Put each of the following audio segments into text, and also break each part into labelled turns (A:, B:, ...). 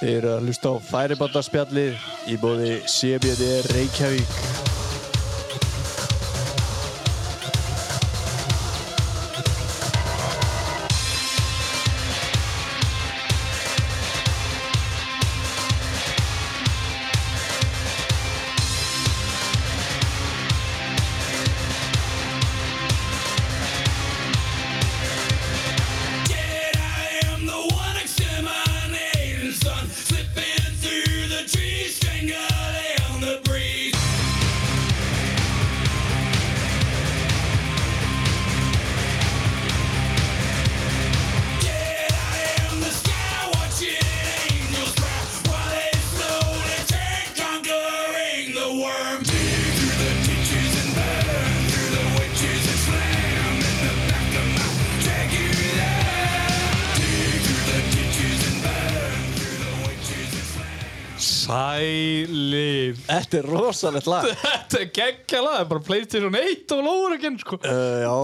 A: Þið eru að hlusta á færibandarspjallið í bóði CBD Reykjavík.
B: Sælif
A: Þetta er rosalegt lag.
B: Þetta er geggja lag, það er bara Playstation 1 og lóður ekki sko.
A: Uh, já.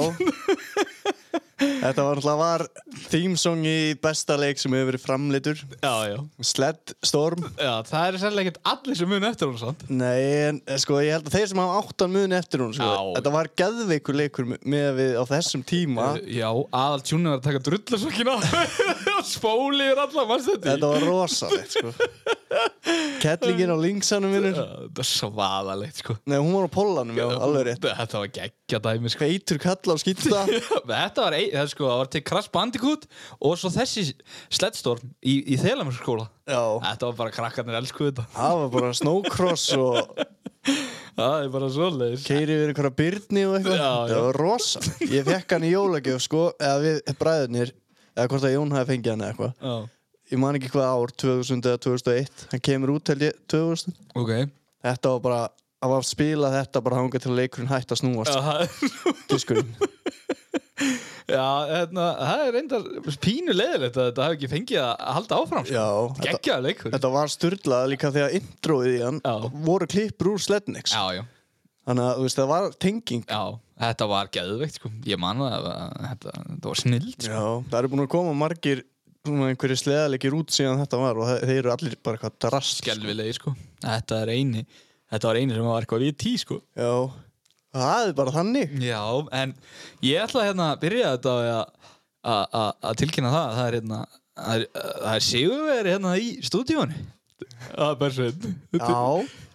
A: Þetta var náttúrulega var þýmsong í besta leik sem hefur verið framleitur.
B: Já, já,
A: Sled Storm.
B: já Það er sérlega ekkert allir sem mun eftir hún sant?
A: Nei, en eh, sko, ég held að þeir sem hafa áttan muni eftir hún, sko.
B: Já.
A: Þetta var geðveikur leikur með við á þessum tíma.
B: Já, aðal tjúnin var að taka drullasokkin á og spóli er allar, mannst þetta?
A: Þetta var rosalegt, sko. Kettlingin á linksanum minnur.
B: Já, Þetta er svaðalegt sko.
A: Nei, hún var á pollanum, já, alveg rétt.
B: Þetta var geggja dæmi sko.
A: Feitur kall á skýta.
B: Þetta var, ein, það, sko, það var til Crash Bandicoot og svo þessi Sledstorm í, í Þelamurskóla
A: Já.
B: Þetta var bara krakkarnir elskuðu þetta
A: Það var bara snowcross og
B: Það er bara svoleiðis
A: keiri yfir einhverja byrni og eitthvað.
B: Já, já.
A: Það var rosa. Ég fekk hann í jólagjöf, sko, eða við bræðurnir, eða hvort að Jón hafi fengið hann eða eitthvað.
B: Já,
A: Ég man ekki hvað ár, 2000 eða 2001. Hann kemur út, held ég, 2000.
B: ok
A: Þetta var bara, hann var að spila þetta bara hanga til að leikurinn hætti að snúast.
B: Já,
A: Diskurinn.
B: Já, hérna, það er reyndar pínu leiðilegt að þetta hafi ekki fengið að halda áfram sko.
A: Já. Þetta,
B: Geggjaður leikur
A: þetta var styrlað líka þegar introið í hann
B: Já.
A: voru klippur úr Slednix.
B: Já, já,
A: Þannig að, þú veist, það var tenging.
B: já, þetta var geðveikt sko. Ég man það að þetta, þetta var snild sko.
A: Já, það eru búin að koma margir svona einhverjir sleðalegir út síðan þetta var og þe- þeir eru allir bara eitthvað drast
B: Skelvilegi, sko Þetta er eini, þetta var eini sem var eitthvað við tí, sko
A: Já, það er bara þannig
B: Já, en ég ætla hérna að byrja þetta á því að- að- að að tilkynna það að Það er hérna, það er, það er sigurveri hérna í stúdíónu Það er bara sveinn
A: Já,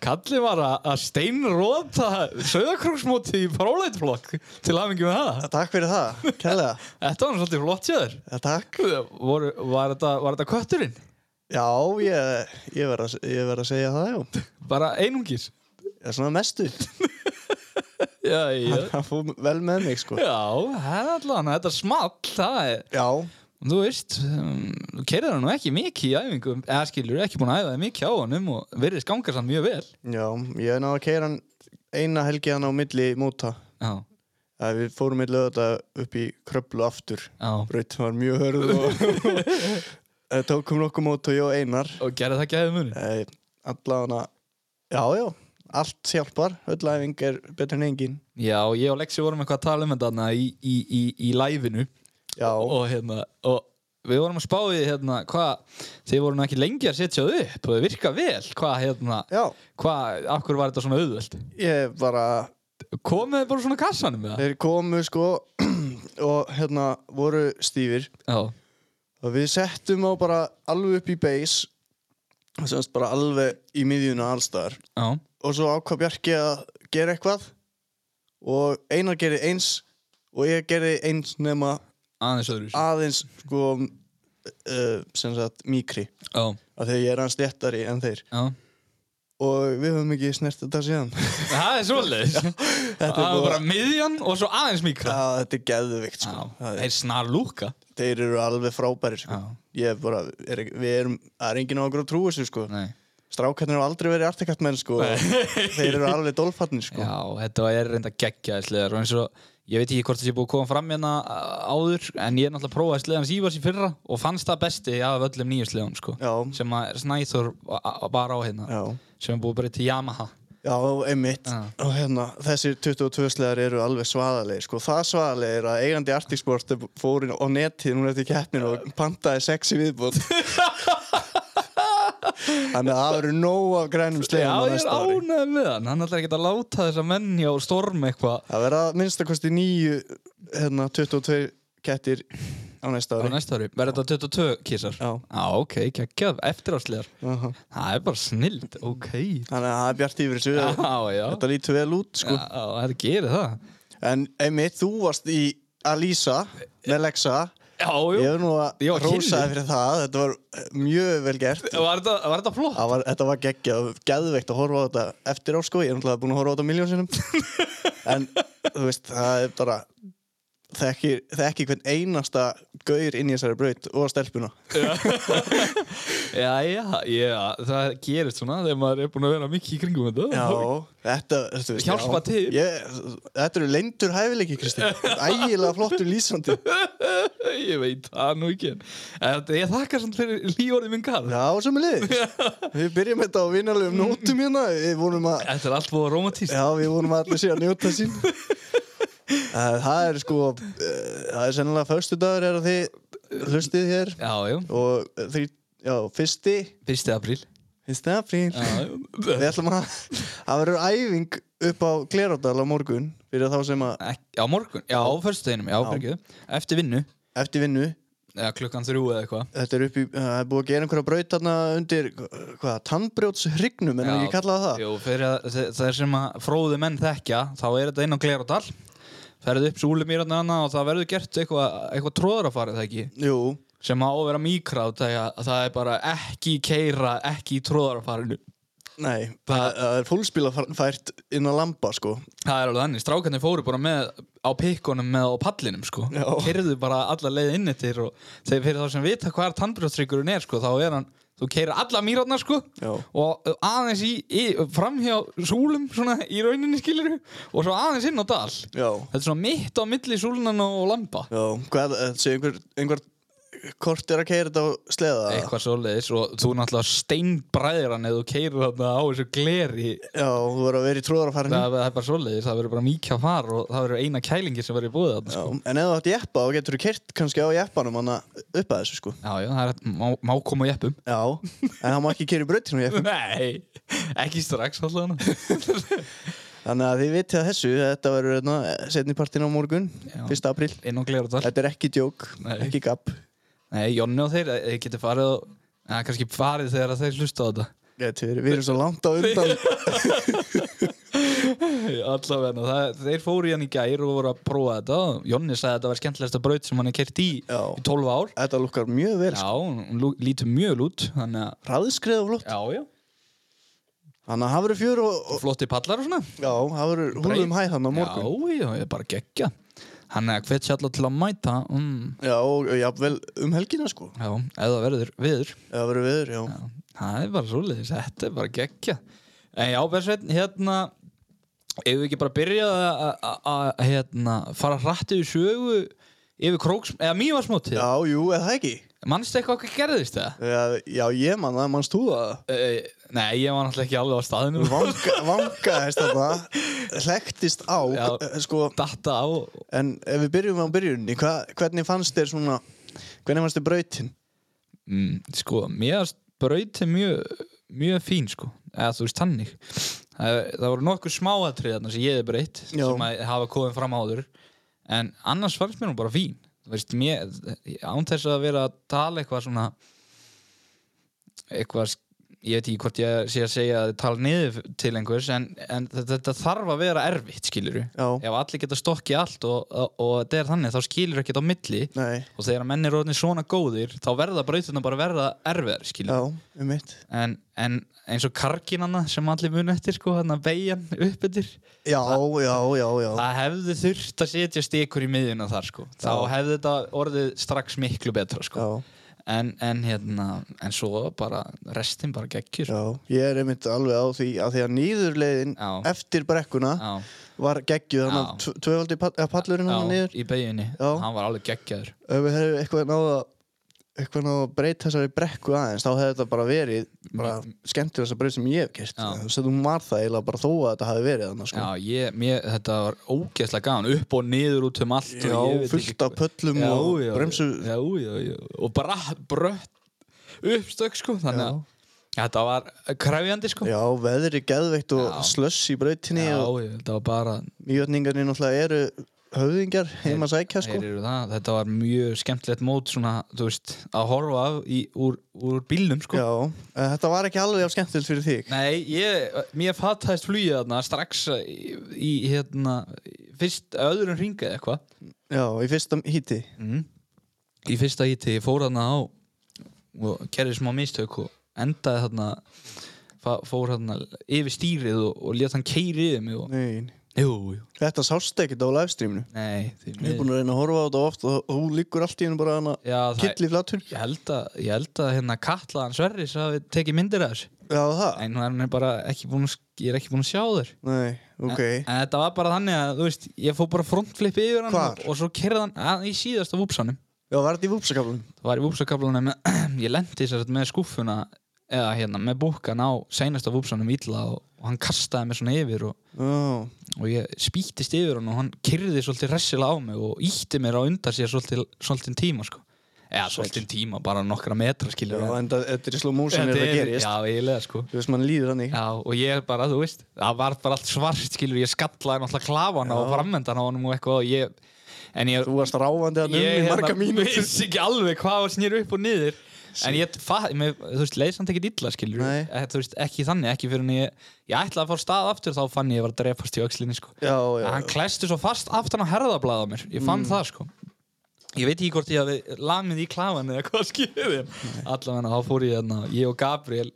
B: Kalli var að að steinróta söðakróksmóti í próleitflokk til hafingi með það.
A: takk fyrir það, kærlega
B: Þetta var nú svolítið flott sjöður.
A: Já, Takk,
B: Var, var, þetta, var þetta kötturinn?
A: já, ég, ég verð að, ég verð að segja það, já
B: Bara einungis?
A: Það er svona mestu,
B: Já, já.
A: það fór vel með mig, sko
B: Já, það er allan, þetta er small, það er,
A: Já,
B: þú veist, um, þú kerðir hann nú ekki mikið í æfingum, eða skilur, ekki búin að æfa þig mikið á honum og virðist ganga samt mjög vel.
A: já, ég náði að keira hann eina helgi hann á milli móta
B: Já,
A: að Við fórum milli auðvitað upp í kröplu aftur
B: já,
A: Braut var mjög hörð og Eh, Tókum nokkuð mót og ég og Einar
B: og gerði það gæðið munni.
A: Nei, allavega Já, já, allt hjálpar Öll æfing er betur en engin
B: Já, ég og Lexi vorum eitthvað að tala um þetta þarna í, í, í, í læfinu.
A: Já,
B: og hérna og við vorum að spá í hérna hvað þið vorum nú ekki lengi að setja það upp og þið virka vel hvað hérna
A: já
B: hvað af hverju var þetta svona auðvöld
A: Ég bara,
B: komið þið bara svona að kassanum með það
A: þeir komu sko og hérna voru stífir
B: já
A: og við settum á bara alveg upp í base semst bara alveg í miðjuna allstaðar
B: já
A: og svo ákvað Bjarki að gera eitthvað og Einar gerði eins og ég gerði eins nema
B: aðeins öðru
A: aðeins sko uh, sem sagt mikri
B: já
A: af því að ég er hans léttari en þeir
B: já
A: og við höfum ekki snert þetta síðan
B: það er svolítið
A: Þetta
B: það var bara miðjan og svo aðeins mikra
A: Já, þetta er geðvikt sko.
B: já
A: Það er,
B: þeir snar lúka
A: þeir eru alveg frábæri sko.
B: Já.
A: ég er bara, er, ekki- við erum það er enginn á okkur að trúa þessu sko.
B: nei
A: strákarnir hafa aldrei verið artikart menn sko. þeir eru alveg dolfarnir sko.
B: Já, þetta er reynda geggjaði sleðar og eins og ég veit ekki hvort það sé búið að koma fram hérna uh, áður en ég er náttúrulega prófaði sleðan Sívars í fyrra og fannst það besti af öllum nýju sleðum sko,
A: Já.
B: sem að Snæþór bara á hérna
A: Já.
B: sem er búið bara til Yamaha
A: Já, einmitt
B: Já.
A: og hérna, þessir 22 slegar eru alveg svaðalegi, sko, það svaðalegi er að eigandi artiksport fórin á netið núna eftir keppnin og pantaði sexi viðbútt Þannig að það verður nóg af grænum
B: Já,
A: slegum á
B: ég er
A: næsta ári.
B: ánægð með hann Hann ætlar ekki að láta þessa menni á storm eitthvað
A: Það verða að minnsta kosti nýju, hérna, 22 kettir á næsta
B: á
A: ári.
B: næsta ári Verður þetta 22 kísar?
A: Já.
B: Já, ok, geggjað, eftiráslegar
A: Aha.
B: Það er bara snild, ok
A: Þannig að það er bjart yfir þessu.
B: Já, já,
A: Þetta lítur vel út,
B: já
A: sko.
B: þetta gerir það
A: En einmitt, þú varst í Alisa með Lexa.
B: Já,
A: Ég
B: jú,
A: er nú að
B: Ég var
A: rósa
B: kynnir.
A: þér fyrir það. Þetta var eh, mjög vel gert.
B: var þetta, var þetta flott?
A: Það Var, þetta var geggjað, geðveikt að horfa á þetta eftir á sko, ég er náttúrulega búin að horfa á þetta miljón sinum en þú veist, það er bara þekkir, þekkir hvern einasta gaur inn í þessari braut og stelpuna
B: Já, já, já, það gerist svona þegar maður er búin að vera mikið í kringum þetta
A: þetta, þú veist,
B: Hjálpa
A: já.
B: til.
A: ég, Þetta eru leindur hæfileiki, Kristi ægilega flottur lýsandi Já,
B: Ég veit það nú ekki en þetta- Ég þakka samt fyrir líorðið minn garð
A: sem er liðis Við byrjum þetta á vinarlegum nótum hérna við vorum að,
B: Þetta er allt búið romantíst
A: já, við vorum að allir sé að njóta sín Eh, Það er sko eh, það er sennilega föstudagur er að þið hlustið hér
B: Já, já,
A: og því, já, fyrsti
B: 1. apríl
A: fyrsti apríl
B: Já, já.
A: við ætlum að það verður æfing upp á Glerárdal á morgun fyrir þá sem að
B: Ekki- Á morgun, já, á föstudeginum, já, já. Eftir vinnu,
A: eftir vinnu
B: eða klukkan þrjú eða eitthvað
A: þetta er upp í, eh, það er búið að gera einhverja braut þarna undir, hvað, tannbrjótshrygnum en
B: Já,
A: ekki kallað það
B: Jú, fyrir að, þe- þeir sem að fróðu menn þekkja þá er þetta inn á Gleradal ferðu upp súlumýrarna hana og það verður gert eitthvað eitthva tróðrafarið það ekki
A: jú,
B: sem á að vera mýkrát þegar að það er bara ekki keira ekki í tróðrafarinu
A: nei, það,
B: Það-
A: það er fólkspilafært inn á lamba, sko
B: það er alveg þannig, strákarnir fóru bara með á pikkunum með á pallinum sko
A: Já.
B: keirðu bara alla leið inn eftir og þegar fyrir þá sem vita hvað tannbrjóðstryggurinn er sko þá er hann, þú keirir alla mýrarna sko
A: já,
B: og aðeins í, í framhjá súlum svona í rauninni skiluru og svo aðeins inn á dal
A: já,
B: Þetta er svona mitt á milli súlunana og lampa
A: já hvað, þessi einhver, einhver kort er að keira þetta á sleða
B: Eitthvað svoleiðis og þú náttúrulega steinbræðir hann eða þú keirir þarna á þessu gleri
A: já, þú verður að vera í tróðarafærinu
B: Það það er bara svoleiðis, það verður bara mikið að fara og það verður eina kælingi sem verður búið þarna
A: Já,
B: sko.
A: en ef þú átt jeppa þá getur þú kert kannski á jeppanum hann upp að þessu sko
B: Já, já, það er hægt- má, má koma og jeppum
A: Já, en það má ekki keri brautinu jeppum
B: Nei, ekki strax allavega
A: Þannig að þið vitið að þessu, þetta verður hérna, setni partin á morgun,
B: Já.
A: 1. apríl
B: Inn á glerudal
A: Þetta er ekki djók,
B: Nei.
A: ekki gabb
B: Nei, Jonni og þeir, þeir getur farið og eða kannski farið þegar að þeir hlusta á þetta
A: Þetta er, við erum svo langt á undan
B: Allavega, það, þeir fóru í hann í gær og voru að prófa þetta Jonni sagði að þetta var skemmtilegasta braut sem hann er kert í
A: Já.
B: í 12 ár
A: Þetta lukkar mjög vel
B: Já,
A: sko.
B: hún lú- lítur mjög lút Þannig að,
A: Hraðskreð og flott
B: já, já
A: Þannig að það verður fjör og, og
B: Flotti pallar og svona
A: já, það verður húlum hæð hann á morgun
B: Já, já, ég er bara geggja Þannig að hvet allar til að mæta mm,
A: Já, og jafnvel um helgina sko
B: Já, eða verður viður
A: Það verður viður, já.
B: Já, það er bara svoleiðis, þetta er bara geggja En já, Bersveinn, hérna Ef við ekki bara byrja að- að- að að, hérna, fara hrætt yfir sögu yfir króks, eða mývarsmótið
A: Já, jú, eða það ekki
B: Manstu eitthvað hvað gerðist það?
A: Já, Já, ég man það, mannst þú það?
B: Uh, nei, ég var náttúrulega ekki alveg á staðinu
A: vanga, vangaðist þarna hlæktist á
B: Já.
A: eh, sko,
B: Datta á og-
A: en ef við byrjum á byrjunni hva, hvernig fannst þér svona hvernig fannst þér brautin
B: mm, Sko, mér fannst brautin mjög, mjög fín sko Eða þú veist tannig Það, það voru nokkuð smáatrið þarna sem ég hef breytt
A: Já.
B: Sem að hafa komið fram áður En annars fannst mér hún bara fín Þú veist, mér, án þess að vera að tala eitthvað svona Eitthvað, sk- ég veit ekki hvort ég sé að segja að tala niður til einhvers En, en þetta, þetta þarf að vera erfitt, skilur
A: já,
B: ef allir geta stokkið allt og, og, og þetta er þannig, þá skilur ekkert á milli
A: nei,
B: og þegar menn er orðin svona góðir þá verða brautina bara verða erfiðar
A: já,
B: skilur
A: um mitt
B: en, en eins og karkinanna sem allir muni eftir sko, hann að beigjan upp eftir
A: já, já, já, já
B: það hefði þurft að setja stikur í miðjuna þar sko, þá
A: Já.
B: hefði þetta orðið strax miklu betra sko
A: já,
B: en, en hérna, en svo bara restin bara geggjur
A: já, ég er einmitt alveg á því að því að nýðurleiðin
B: Já.
A: eftir brekkuna
B: Já,
A: var geggjuð hann
B: Já.
A: að tvövaldi pallurinn hann
B: já,
A: niður
B: í beigjunni
A: Já.
B: hann var alveg geggjaður
A: ef við hefum eitthvað náða eitthvað náða að breyta þessari brekku aðeins þá hefði þetta bara verið bara skemmtilegast að breyta sem ég hef gert
B: Já.
A: þess að þú var það eiginlega bara þó að þetta hafi verið þannig sko.
B: Já, ég, mér, þetta var ógeðslega gaman upp og niður út um allt
A: Já,
B: og ég veit ekki
A: fullt af pöllum
B: Já,
A: og
B: já,
A: bremsu
B: já, já, já. og bara brött uppstök sko þannig
A: Já.
B: að Þetta var kræfjandi sko
A: Já, veðri geðveikt og
B: Já.
A: slöss í brautinni
B: Já,
A: og
B: ég- þetta var bara
A: mjötningarnir náttúrulega eru höfðingjar heima að sækja sko.
B: þeir eru það, Þetta var mjög skemmtilegt mót svona, þú veist, að horfa af í, úr, úr bílnum sko
A: Já, eh, þetta var ekki alveg af skemmtild fyrir þig.
B: Nei, ég, mér fattaðist flugið þarna strax í, í hérna fyrst öðrum ringa eða eitthvað
A: Já, í fyrsta híti.
B: mm. í fyrsta íti, ég fór þarna á og gerði smá mistök og endaði þarna fa- fór þarna yfir stýrið og, og lét hann keiri yfir mig og,
A: Nei,
B: jú, jú,
A: þetta sást ekkert á livestreaminu.
B: nei því
A: Ég er
B: miður.
A: búin að reyna að horfa á þetta oft og hún liggur allt í hennu bara hana
B: Já, það-
A: kill í flatur.
B: ég held að, ég held að hérna kallaðan Sverris hafi tekið myndir af þessu
A: Já, það?
B: en hann er bara ekki búin að, sk- ég er ekki búin að sjá þér
A: Nei, ok.
B: en, en þetta var bara þannig að, þú veist, ég fór bara frontflip yfir hann
A: Hvar?
B: og, og svo kerði hann að, í síðasta vúpsanum
A: Já, var þetta í vúpsakaflunum?
B: það var í vúpsakaflunum ég lendi sér með skúffuna eða hérna með búkan á seinasta vúpsanum illa og, og hann kastaði mig svona yfir og,
A: Já,
B: og ég spýttist yfir hann og hann kyrði svolítið ressila á mig og ítti mér á undan sér svolítið, svolítið tíma sko eða svolítið tíma, bara nokkra metra
A: já
B: skilur
A: en það- þetta er í slow motion er það gerist.
B: já, eiginlega sko
A: Þú veist, mann líður hann í.
B: Já, og ég er bara, þú veist, það var bara allt svart, skilur, ég skallaði náttúrulega klafana og framvendan á honum og eitthvað og ég, en ég,
A: Þú varst ráfandi hann um í
B: hérna,
A: marga mínútur.
B: vissi ekki alveg hvað var snýr upp og niður en ég, fa, mér, þú veist, leið samt ekkert illa skilur
A: Nei.
B: þú veist, ekki þannig, ekki fyrir en ég ég ætlaði að fara á stað aftur þá fann ég að ég var að drefast í öxlinni sko
A: Já, já. Mm.
B: en hann klæstu svo fast aftan á herðablaða mér ég fann það sko ég veit ekki hvort ég hafi lamið í klafan eða hvað skilur allavega þá fór ég hérna, ég og Gabriel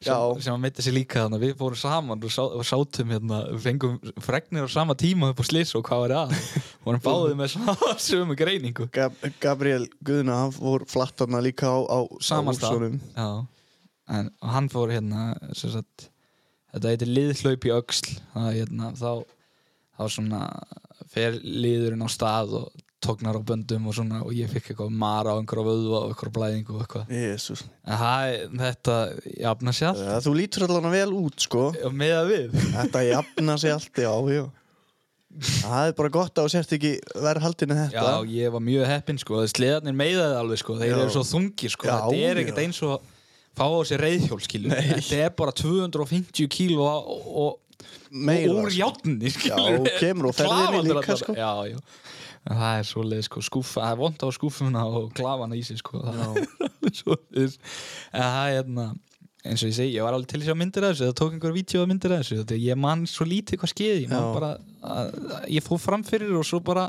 B: sem,
A: Já.
B: sem að meita sér líka þannig við fórum saman og, sá, og sátum hérna fengum fregnir á sama tíma upp á slis og hvað er að vorum báðið með sama sömu greiningu
A: Gab Gabriel Guðna, hann fór flatt hann líka á, á
B: Sama
A: á
B: stað.
A: Úlfsonum.
B: Já, en og hann fór hérna sem sagt, þetta heitir liðhlaup í öxl það, hérna, þá, þá svona fer liðurinn á stað og tóknar á böndum og svona og ég fikk eitthvað mara á einhverja vöðva og einhverja blæðingu og eitthvað
A: Jesús.
B: en það, er- þetta jafna sér allt
A: Það, þú lítur allan vel út, sko.
B: og meða við
A: Þetta jafna sig allt, já, já. Það er bara gott að þú sért ekki verið haldinu
B: Já,
A: þetta.
B: ég var mjög heppinn sko, sleðarnir meiðaði alveg sko, þeir
A: Já.
B: eru svo þungir sko,
A: Já,
B: þetta er
A: já.
B: ekkert eins og að fá á sér reyðhjól skilur, þetta er bara 250 kíló og, og
A: Meira,
B: og úr
A: sko.
B: játni
A: Já, og kemur og ferðinni líka, sko.
B: já, já. En það er svoleið sko, skúfa, það er vond á skúfuna og klafana í sig sko, það er alveg svoleiðis en það er hérna eins og ég segi, ég var alveg til þess að sjá myndir af þessu það tók einhver vídeo að myndir af þessu þetta, ég man svo lítið hvað skeiði ég, man
A: Já.
B: bara, að, að, ég fór fram fyrir og svo bara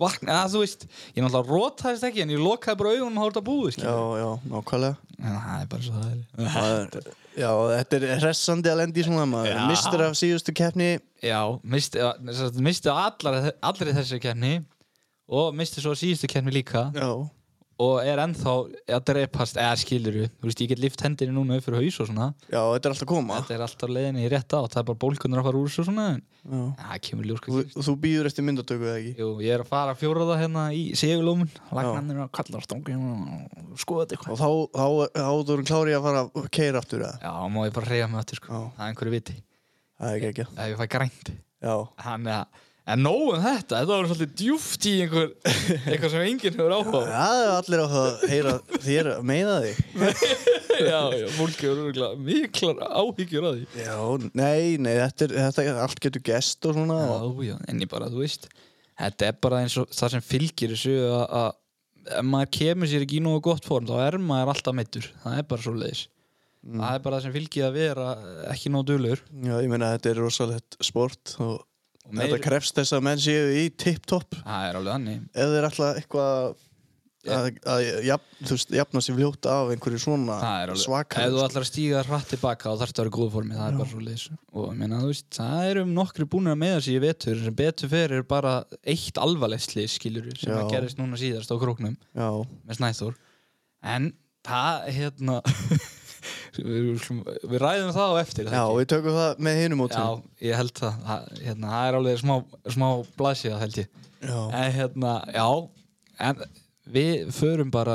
B: vakna, að, þú veist ég náttúrulega rótaðist ekki en ég lokaði bara augunum og hórt að búið
A: Já,
B: skilur.
A: já, nákvæmlega.
B: en það er bara svo það er
A: Það er- Já, þetta er hressandi að lendi svona maður.
B: Já.
A: Mistur af síðustu keppni.
B: Já, misti, sem sagt, misti allar, allri þessari keppni og misti svo síðustu keppni líka
A: Já.
B: og er ennþá að dreipast, eða skilur þú veist, ég get lift hendinni núna upp fyrir haus og svona
A: Já, þetta er alltaf að koma.
B: þetta er alltaf leiðinni í rétt átt, það er bara bólkunnur að fara úr svo svona, en
A: Já.
B: en það kemur ljóska
A: Þú, þú býður eftir myndatöku eða ekki?
B: Jú, ég er að fara að fjóra það hérna í segulómun lagnarnir og kallar stóngi og skoða þetta
A: Og
B: eitthvað
A: þá, þá, þá, þá erum klárið að fara að keira aftur eða?
B: Já, má ég bara reyja mig aftur sko,
A: Já.
B: það er einhverju viti
A: Það er ekki ekki.
B: ef ég fæ grænt
A: Já.
B: Þannig að, en nóg um þetta, þetta var svolítið djúft í einhver, eitthvað sem enginn hefur áhuga á.
A: Það er allir á það að heyra þér að meina þig.
B: já, já, fólk hefur örugglega miklar áhyggjur að því.
A: Já, nei, nei, þetta er, þetta er allt getur gest og svona. og-
B: Já, já, en ég bara, þú veist, þetta er bara eins og það sem fylgir þessu að, að ef maður kemur sér ekki í nógu gott form, þá er maður alltaf meittur. Það er bara svo leiðis.
A: Mm.
B: Það er bara það sem fylgir að vera ekki nóg dölur.
A: Já, ég meina þetta er rosalegt sport og
B: meir-
A: þetta krefst þess að menn séu í tip-top
B: Það er alveg þannig.
A: ef þeir ætla eitthvað að, að jafn, þú veist, jafna sér fljótt af einhverju svona
B: Það er alveg,
A: Ah, svaka
B: ef þú ætlar að stíga hratt tilbaka þá þarfst að vera í góðu formi, það er bara svo leiðis og ég meina, þú veist, það eru nokkri búnir að meða sig í vetur, sem betur fer er bara eitt alvarlegt slið, skilur sem
A: Já.
B: að gerist núna síðast á króknum
A: Já,
B: með Snæþór en það, hérna við, skulum- við ræðum það á eftir er
A: já
B: það ekki?
A: við tökum það með hinum út
B: já, ég held það, það hérna, það er alveg smá, smá blasíða held ég
A: já,
B: en hérna, já en við förum bara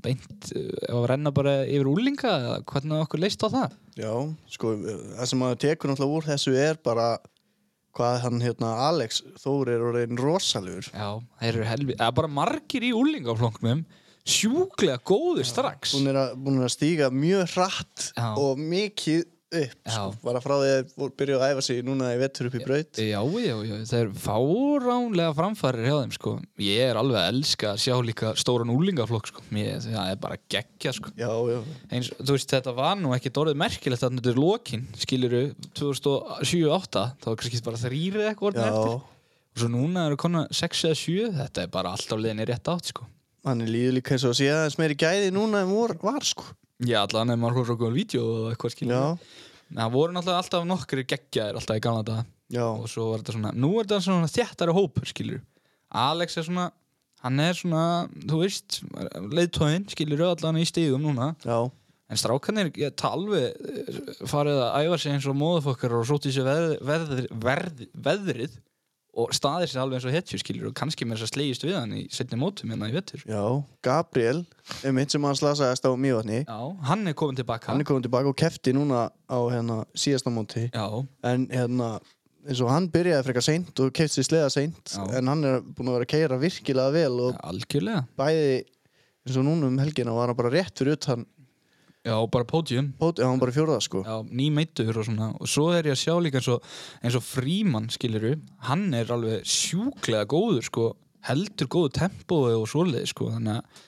B: beint, ef að renna bara yfir úlinga, eða hvernig okkur leist á það
A: já, sko, það sem maður tekur náttúrulega úr þessu er bara hvað hann hérna Alex Þór er orðin rosalugur
B: Já, þeir eru helvið, það er bara margir í úlingaflokknum sjúklega góður strax
A: Hún er að, hún er að stíga mjög hratt
B: Já.
A: og mikið upp
B: Já.
A: sko, bara frá því að voru- byrja að æfa sig núna í vettur upp í braut
B: Já, já, já, það er fáránlega framfærir hjá þeim, sko. Ég er alveg að elska að sjá líka stóran úlingaflokk, sko. Mér, það er bara geggja, sko.
A: Já, já,
B: Eins, þú veist, þetta var nú ekki dorðið merkilegt að þetta er lokin, skiluru, 2007-2008, þá var kannski bara þrýri eitthvað orðin
A: já
B: eftir. Og svo núna eru konar 6 eða 7, þetta er bara alltaf leiðinni rétt átt, sko.
A: hann er líður líka eins og að sé aðeins meiri gæði núna en vor, var sko
B: Já, allan ef maður horfður okkur á vídeo og eitthvað skilur.
A: Já,
B: Það voru náttúrulega alltaf nokkri geggjaðir alltaf í gamla daga.
A: já,
B: og svo var þetta svona, nú er þetta svona þjættari hópur, skilur Alex er svona, hann er svona þú veist, leiðtóðinn skilur allan í stíðum núna
A: já,
B: en strákanir, ég tala alveg eh, farið að æfa sig eins og móðafokkar og sóti sér veð, veð, verð, veðrið og staðir sér alveg eins og hetju skilur og kannski með þess að slegist við hann í setni mótum hérna í vettur
A: já Gabriel, um hitt sem hann slasaðist á mývatni
B: Já, hann er komin tilbaka
A: hann er komin tilbaka og kefti núna á hérna síðasta móti
B: Já,
A: en hérna eins og hann byrjaði frekar seint og kefti sér sleða seint
B: Já.
A: en hann er búin að vera að keira virkilega vel og
B: algjörlega
A: bæði eins og núna um helgina var hann bara rétt fyrir utan
B: Já, bara pódium
A: hóti, hann var bara fjórða sko
B: Já, nýmeittur og svona og svo er ég að sjá líka eins og, eins og frímann skiliru, hann er alveg sjúklega góður sko heldur góðu tempói og svoleiði sko þannig að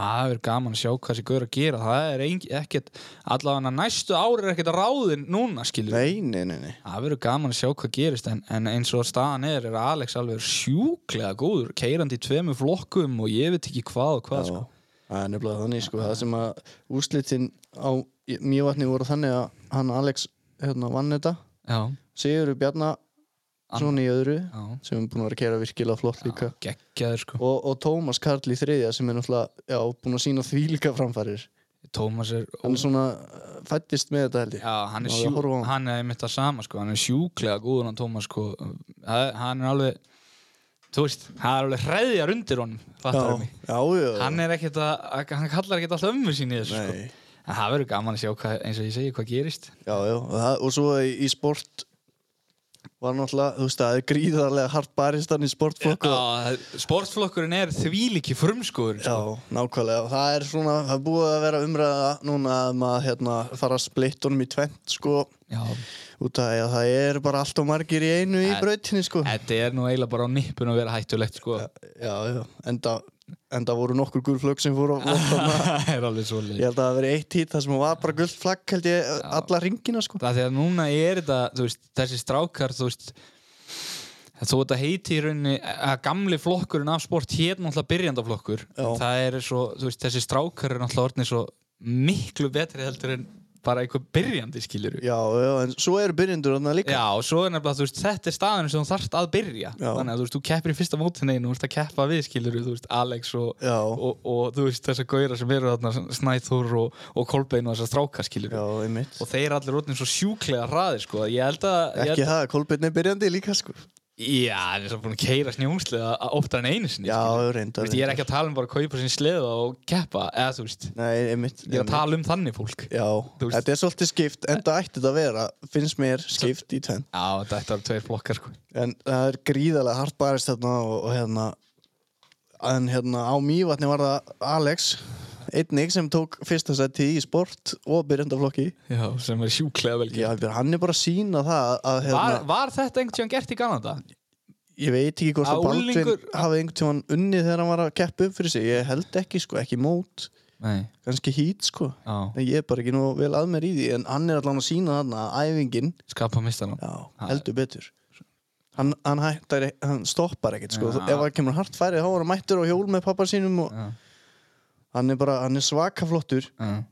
B: það er gaman að sjá hvað þessi gaur að gera það er ein- ekkert, allavega næstu ári er ekkert að ráðin núna skiliru
A: nei, nei, nei, nei,
B: það verður gaman að sjá hvað gerist en, en eins og staðan er, er Alex alveg sjúklega góður, keirandi í tveimu flokkum og ég veit ekki hvað og hvað
A: Já.
B: sko.
A: það er nefnilega þannig sko það sem að úslitin á mývatni voru þannig að hann Alex hérna vann þetta
B: já,
A: Sigur Bjarna svona í öðru
B: já,
A: sem er búin að vera að keira virkilega flott líka
B: já geggjaður sko
A: og, og Tómas Karl í þriðja sem er náttúrulega já, búin að sína því líka framfærir
B: Tómas er
A: hann er svona uh, fættist með þetta held ég
B: Já, hann
A: Já,
B: er,
A: ég
B: sjú,
A: horfa á hann.
B: hann er einmitt það sama sko, hann er sjúklega góður hann Tómas sko, Það- hann er alveg þú veist, hann er alveg hreðjar undir honum fattarðu mig.
A: já, já, já.
B: hann er ekkert að, hann kallar ekkert alltaf ömmu sín í þessu sko,
A: Nei.
B: en það verður gaman að sjá hvað, eins og ég segi, hvað gerist
A: já, já. Og, það, og svo í, í sport var náttúrulega, þú veist, það er gríðarlega hart baristan í sportflokk og-
B: Já, sportflokkurinn er þvílíki sko. frumskóður
A: Já, nákvæmlega, og það er svona, það er búið að vera umræða núna um að hérna, fara að splitt honum í tvent, sko,
B: Já,
A: út af því að það er bara allt og margir í einu í
B: En-
A: brautinni, sko.
B: þetta er nú eiginlega bara á nippun að vera hættulegt sko,
A: Já, já, enda, enda voru nokkur gulflögg sem fóru á þarna.
B: það er alveg svo
A: Ég held að það hafi verið eitt hít þar sem hún var bara gullt flagg, held ég, alla ringina, sko.
B: það því að núna er þetta þú veist, þessi strákar þú veist þó þetta heiti í rauninni að gamli flokkurinn af sport hér náttúrulega byrjandaflokkur
A: Já.
B: En það er svo, þú veist, þessi strákar er náttúrulega orðinni svo miklu betri heldur en bara einhver byrjandi skilur
A: Já, já, en svo eru byrjendur þarna líka.
B: Já, og svo er nefnilega, þú veist, þetta er staðan sem þú þarft að byrja
A: Já.
B: þannig að þú veist, þú keppir í fyrsta mótinegin og þú veist að keppa við skilur, þú veist, Alex og,
A: Já.
B: og, og þú veist, þessar gauðra sem eru þarna Snæþór og, og Kolbein og þessar strákar skilur
A: Já, einmitt.
B: og þeir allir orðin svo sjúklega hraðir sko, að ég held að, ég held
A: Ekki það, Kolbjörn er byrjandi líka, sko.
B: Já, hann er svo búin að keira snjómsleða oftar en einu sinni
A: Já,
B: skilur. Þú
A: reyndar.
B: veist, Ég er ekki að tala um bara að kaupa sinni sleða og keppa eða þú veist,
A: Nei, einmitt.
B: ég er að tala um þannig fólk Já,
A: Já,
B: Þú veist-
A: þetta er svolítið skipt, enda ætti þetta að vera, finnst mér, skipt í tvenn.
B: þetta ætti að vera tveir flokkar sko
A: En það er gríðarlega hart barist þarna og, og hérna, en hérna á mývatni var það Alex, einnig sem tók fyrsta seti í sport og byrjandaflokki.
B: Já, sem er sjúklega vel
A: Já,
B: gert
A: hann er bara að sína það að, hérna,
B: var, var þetta einhvern tíðan gert í Kanada?
A: ég veit ekki hvort
B: Að
A: að Baldvin
B: unglingur-
A: hafi einhvern tímann unnið þegar hann var að keppa upp fyrir sig. Ég held ekki, sko, ekki mót,
B: Nei,
A: kannski hít, sko.
B: já,
A: En ég er bara ekki nú vel að mér í því, en hann er allan að sína þarna að æfingin
B: skapa mistan
A: Já,
B: Ha-
A: heldur betur Hann, hann, hættar, e- hann stoppar ekkert sko.
B: Já.
A: ef hann kemur hart færið þá er hann mættur á hjól með pappa sínum og
B: Já.
A: hann er bara, hann er svaka flottur
B: Já,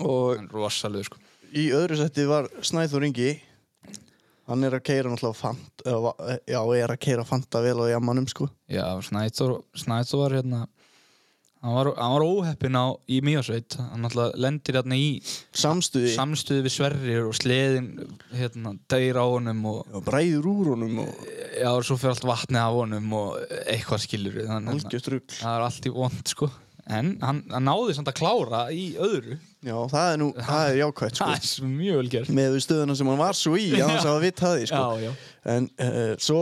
A: og
B: hann er rosalegu sko
A: í öðru setti var Snæþór Ingi hann er að keira náttúrulega fant, eða, va- e- já, er að keira fanta vel á jammanum sko
B: Já, Snæþór Snæþór var hérna hann var, hann var óheppin á í Mýjasveit hann alltaf lendir hérna í
A: samstuði,
B: samstuði við Sverrir og sleðin hérna, degir á honum og
A: og bræður úr honum og
B: Já, og svo fyrir allt vatnið af honum og eitthvað skilur við þannig að
A: algjört rugl
B: það er allt í vond sko en hann, hann náði samt að klára í öðru
A: já, það er nú, það er jákvæmt sko
B: það er svo mjög vel gert sko.
A: með stöðuna sem hann var svo í, hann sá að vita það sko.
B: já, já,
A: En uh, svo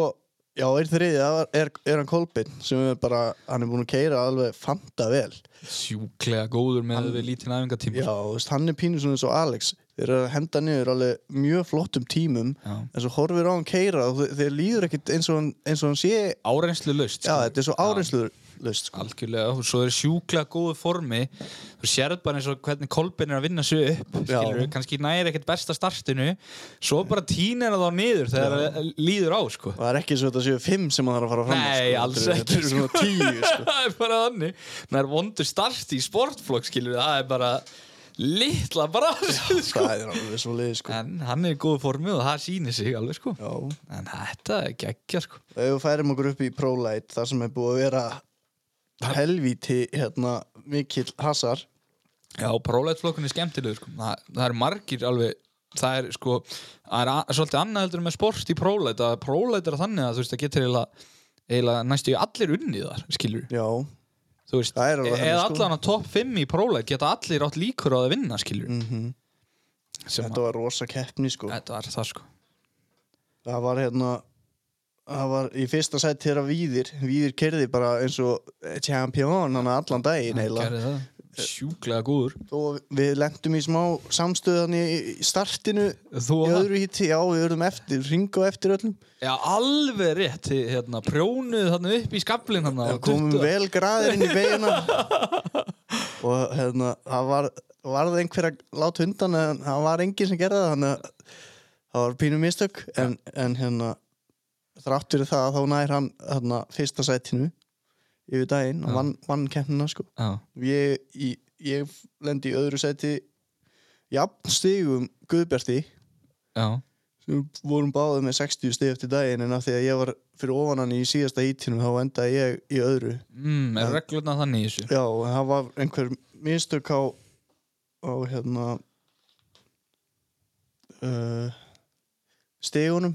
A: Já, einn þriðið, það var- er, er hann Kolbinn sem er bara, hann er búin að keira alveg fanta vel.
B: sjúklega góður með við lítinn æfingatíma
A: Já, þú veist, hann er pínu svona eins og Alex. Þeir eru að henda niður alveg mjög flottum tímum
B: Já.
A: en svo horfir á hann keira og þe- þeir líður ekkit eins og hann, eins og hann sé
B: árenslu laust
A: Já,
B: sko.
A: þetta er svo áreinsluðlust sko.
B: algjörlega, og svo er sjúklega góðu formi þú sérð bara eins og hvernig Kolbeinn er að vinna sig upp,
A: Já.
B: skilur kannski næri ekkert besta startinu svo bara tínir það á niður þegar það líður á, sko
A: Það er ekki eins og þetta séu fimm sem hann þarf að fara fram úr,
B: Nei,
A: sko.
B: alls
A: Þetta eru-
B: ekki,
A: Þetta er svona tíu sko.
B: það er bara þannig það er vondu start í sportflokk, skilur það er bara litla bara sko.
A: Það er alveg svo liði sko.
B: en hann er í góðu formi og það sýnir sig alveg, sko
A: Já.
B: en þetta er geggja, sko
A: Ef við færum okkur upp í ProLite þar sem er búið að vera helvíti hérna mikill hasar
B: Já, prólætflokkun er skemmtilegur sko. það, það er margir alveg það er sko, það er a- svolítið annað heldur en með sport í prólæt að prólæt er þannig að þú veist, það getur eiginlega, eiginlega næstu í allir unnið þar, skilur
A: Já,
B: þú veist,
A: Það er alveg
B: eða
A: þannig, sko.
B: allan að topp 5 í prólæt geta allir átt líkur á að vinna, skilur
A: mm
B: sem
A: þetta
B: að,
A: var rosa keppni sko
B: þetta var það sko
A: Það var hérna Það var í fyrsta sætt þeirra Víðir Víðir kerði bara eins og champion hann allan daginn
B: Hann
A: heila
B: gerði það. sjúklega góður
A: og við lendum í smá samstöðan í í startinu
B: þú
A: í
B: og hann,
A: öðru hitti, já við verðum eftir ringa á eftir öllum
B: já, alveg rétt þið, hérna, prjónuð þarna upp í skaflin hann
A: og komum um vel graðir inn í beina og hérna það var, varð einhver að láta undan en það var enginn sem gerði það þannig að það var pínu mistök en, en hérna þrátt fyrir það þá nær hann hérna, fyrsta sætinu yfir daginn og vann, vann keppnina sko
B: já,
A: ég, í, ég lendi í öðru sæti jafn stigum Guðbjarti
B: já,
A: sem vorum báðið með 60 stig eftir daginn en af því að ég var fyrir ofan hann í síðasta ítinu þá endaði ég í öðru
B: mm, er reglurna þannig í þessu
A: já, en það var einhver mistök á, á hérna uh, stigunum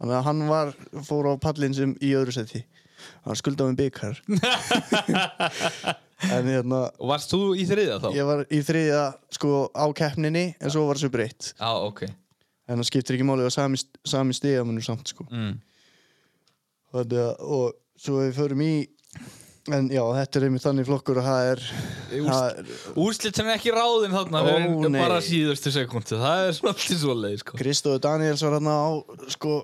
A: þannig að hann var, fór á pallin sem í öðru seti hann skuldaði um byggar en hérna
B: Og varst þú í þriðja þá?
A: ég var í þriðja sko á keppninni en svo var þessu breytt
B: Já, ok.
A: en það skiptir ekki máli og sami, sami stigamunur samt sko
B: Mm.
A: Þannig að, og svo við förum í en já, þetta er einmitt þannig flokkur að það er,
B: Úrst-
A: það er
B: Úrslitin er ekki ráðin þarna,
A: Ó,
B: oh,
A: nei.
B: bara síðustu sekundu. Það er svona alltaf svo leið, sko.
A: Kristóður Daniels var hann á sko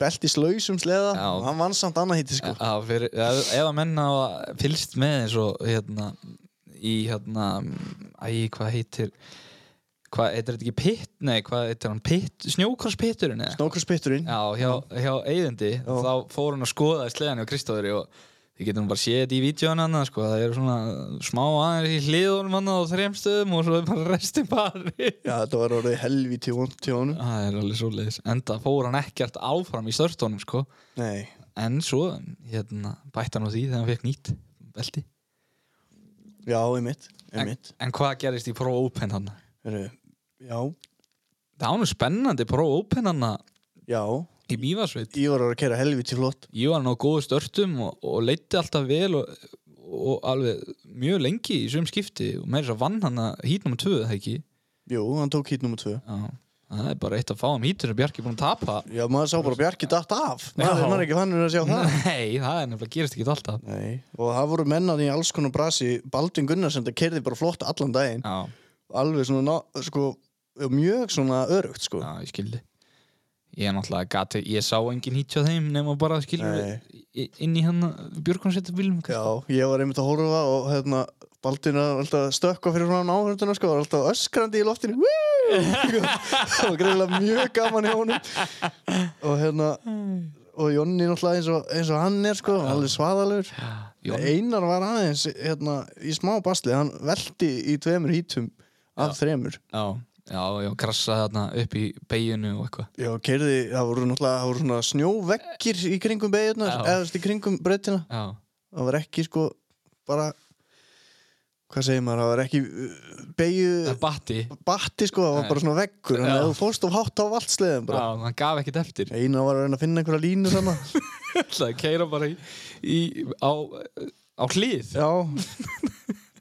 A: beltis lausum sleða
B: Já.
A: og hann vann samt annað hitti sko
B: Já, fyrir, ef, ef að menna hafa fylgst með eins og hérna í hérna, æ, hvað heitir, hvað, heitir þetta ekki pitt, nei, hvað heitir hann, pitt, snjókrosspitturinn eða?
A: Snókurspitturinn,
B: Já, hjá, hjá eigðindi, þá fór hann að skoða í sleðan hjá Kristóðuri og þið getum bara séð þetta í vídjónu hann, sko, það eru svona smá aðeins í hliðunum hann á þrem stöðum og svo er bara restin pari.
A: já þetta var orðið helvítið vond til honum
B: Það er alveg svo leiðis. Enda fór hann ekkert áfram í störtunum, sko,
A: Nei,
B: en svo, hérna, bætti hann á því þegar hann fekk nýtt belti.
A: já, einmitt, einmitt.
B: En hvað gerist í Pro Open hann?
A: Heru, Já,
B: Það var nú spennandi Pro Open hann
A: já,
B: í Mývarsveit.
A: ég var að kera helvítið flott
B: Ég var hann á góðu störtum og, og leiti alltaf vel og, og alveg mjög lengi í sögum skipti og meira svo vann hann að hít nummer 2, það ekki?
A: Jú, hann tók hít nummer tvö
B: Já, það er bara eitt að fá um hítinu, Bjarki er búin að tapa.
A: Já, maður sá bara Bjarki datt af maður,
B: Já.
A: maður er ekki fannur að sjá það
B: Nei, það er nefnilega gerist ekki alltaf.
A: Nei, og það voru mennan í alls konar brasi Baldvin Gunnarsson, það kerði bara flott allan daginn
B: Já,
A: alveg svona, ná- sko mjög svona örugt, sko
B: Já, ég skildi Ég náttúrulega gati, ég sá engin hít hjá þeim nema bara skilur
A: Nei.
B: í- inn í hann Björgvansett bílum
A: Já, ég var einmitt að horfa og hérna Baldvin var alltaf stökka fyrir frá áhörnduna, sko, var alltaf öskrandi í loftinu Woo! það var greiðlega mjög gaman hjá honum og hérna og Jonni náttúrulega eins og, eins og hann er, sko alveg svaðalur
B: Jón,
A: Einar var aðeins, hérna, í smá basli hann velti í tveimur hítum af þremur
B: já, já, já, krassaði þarna upp í beiginu og eitthvað
A: Já, keirði, það voru náttúrulega, það voru svona snjóvekkir í kringum beigjarnar,
B: Já.
A: eða þú veist, í kringum breytina.
B: Já,
A: Það var ekki sko, bara, hvað segir maður, það var ekki beigju,
B: það batti
A: batti sko, það var bara svona vekkur, þannig
B: Já.
A: að ef þú fórst of hátt á allt sleðum
B: Já,
A: bara.
B: hann gaf ekkert eftir
A: Einar var að reyna að finna einhverja línu þarna.
B: Það keira bara í, í á, á hlið
A: Já.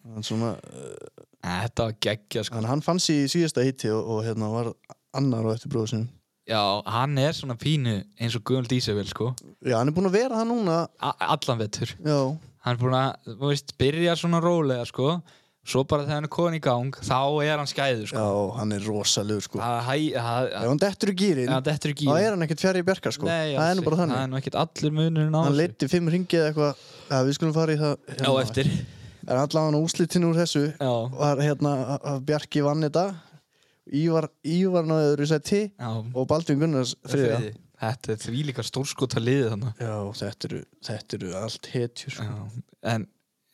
A: Hann, svona, eh,
B: Þetta var geggja sko
A: hann, hann fann sér í síðasta hitti og, og hérna var annar á eftir bróðu sinum.
B: Já, hann er svona pínu eins og Guðmund Ísafell sko
A: Já, hann er búin að vera það núna
B: A Allan vettur
A: Já,
B: Hann er búin að, þú veist, byrja svona rólega sko Svo bara þegar hann er komin í gang Þá er hann skæður sko
A: já hann er rosalug sko
B: Það hæ, það,
A: Ef hann dettur í gýrin,
B: það dettur ekki í
A: þá
B: hann.
A: er hann ekkert fjari í berka sko
B: Nei,
A: Það
B: alls
A: er nú bara
B: ekki.
A: þannig
B: Það er nú ekkert allur munurinn á
A: Hann hérna
B: þessu.
A: leiti fimm ringi eða eitthvað Já, við skulum fara í það
B: Já, eftir
A: En allavega úslitin úr þessu
B: Já,
A: var hérna að- að Bjarki vann þetta Ívar, Ívar náðu öðru sæti
B: já
A: og Baldvin Gunnars þriða
B: þriðja. Þetta er því líka stórskota liðið þannig
A: Já, þetta eru, þetta eru allt hetjur sko.
B: en,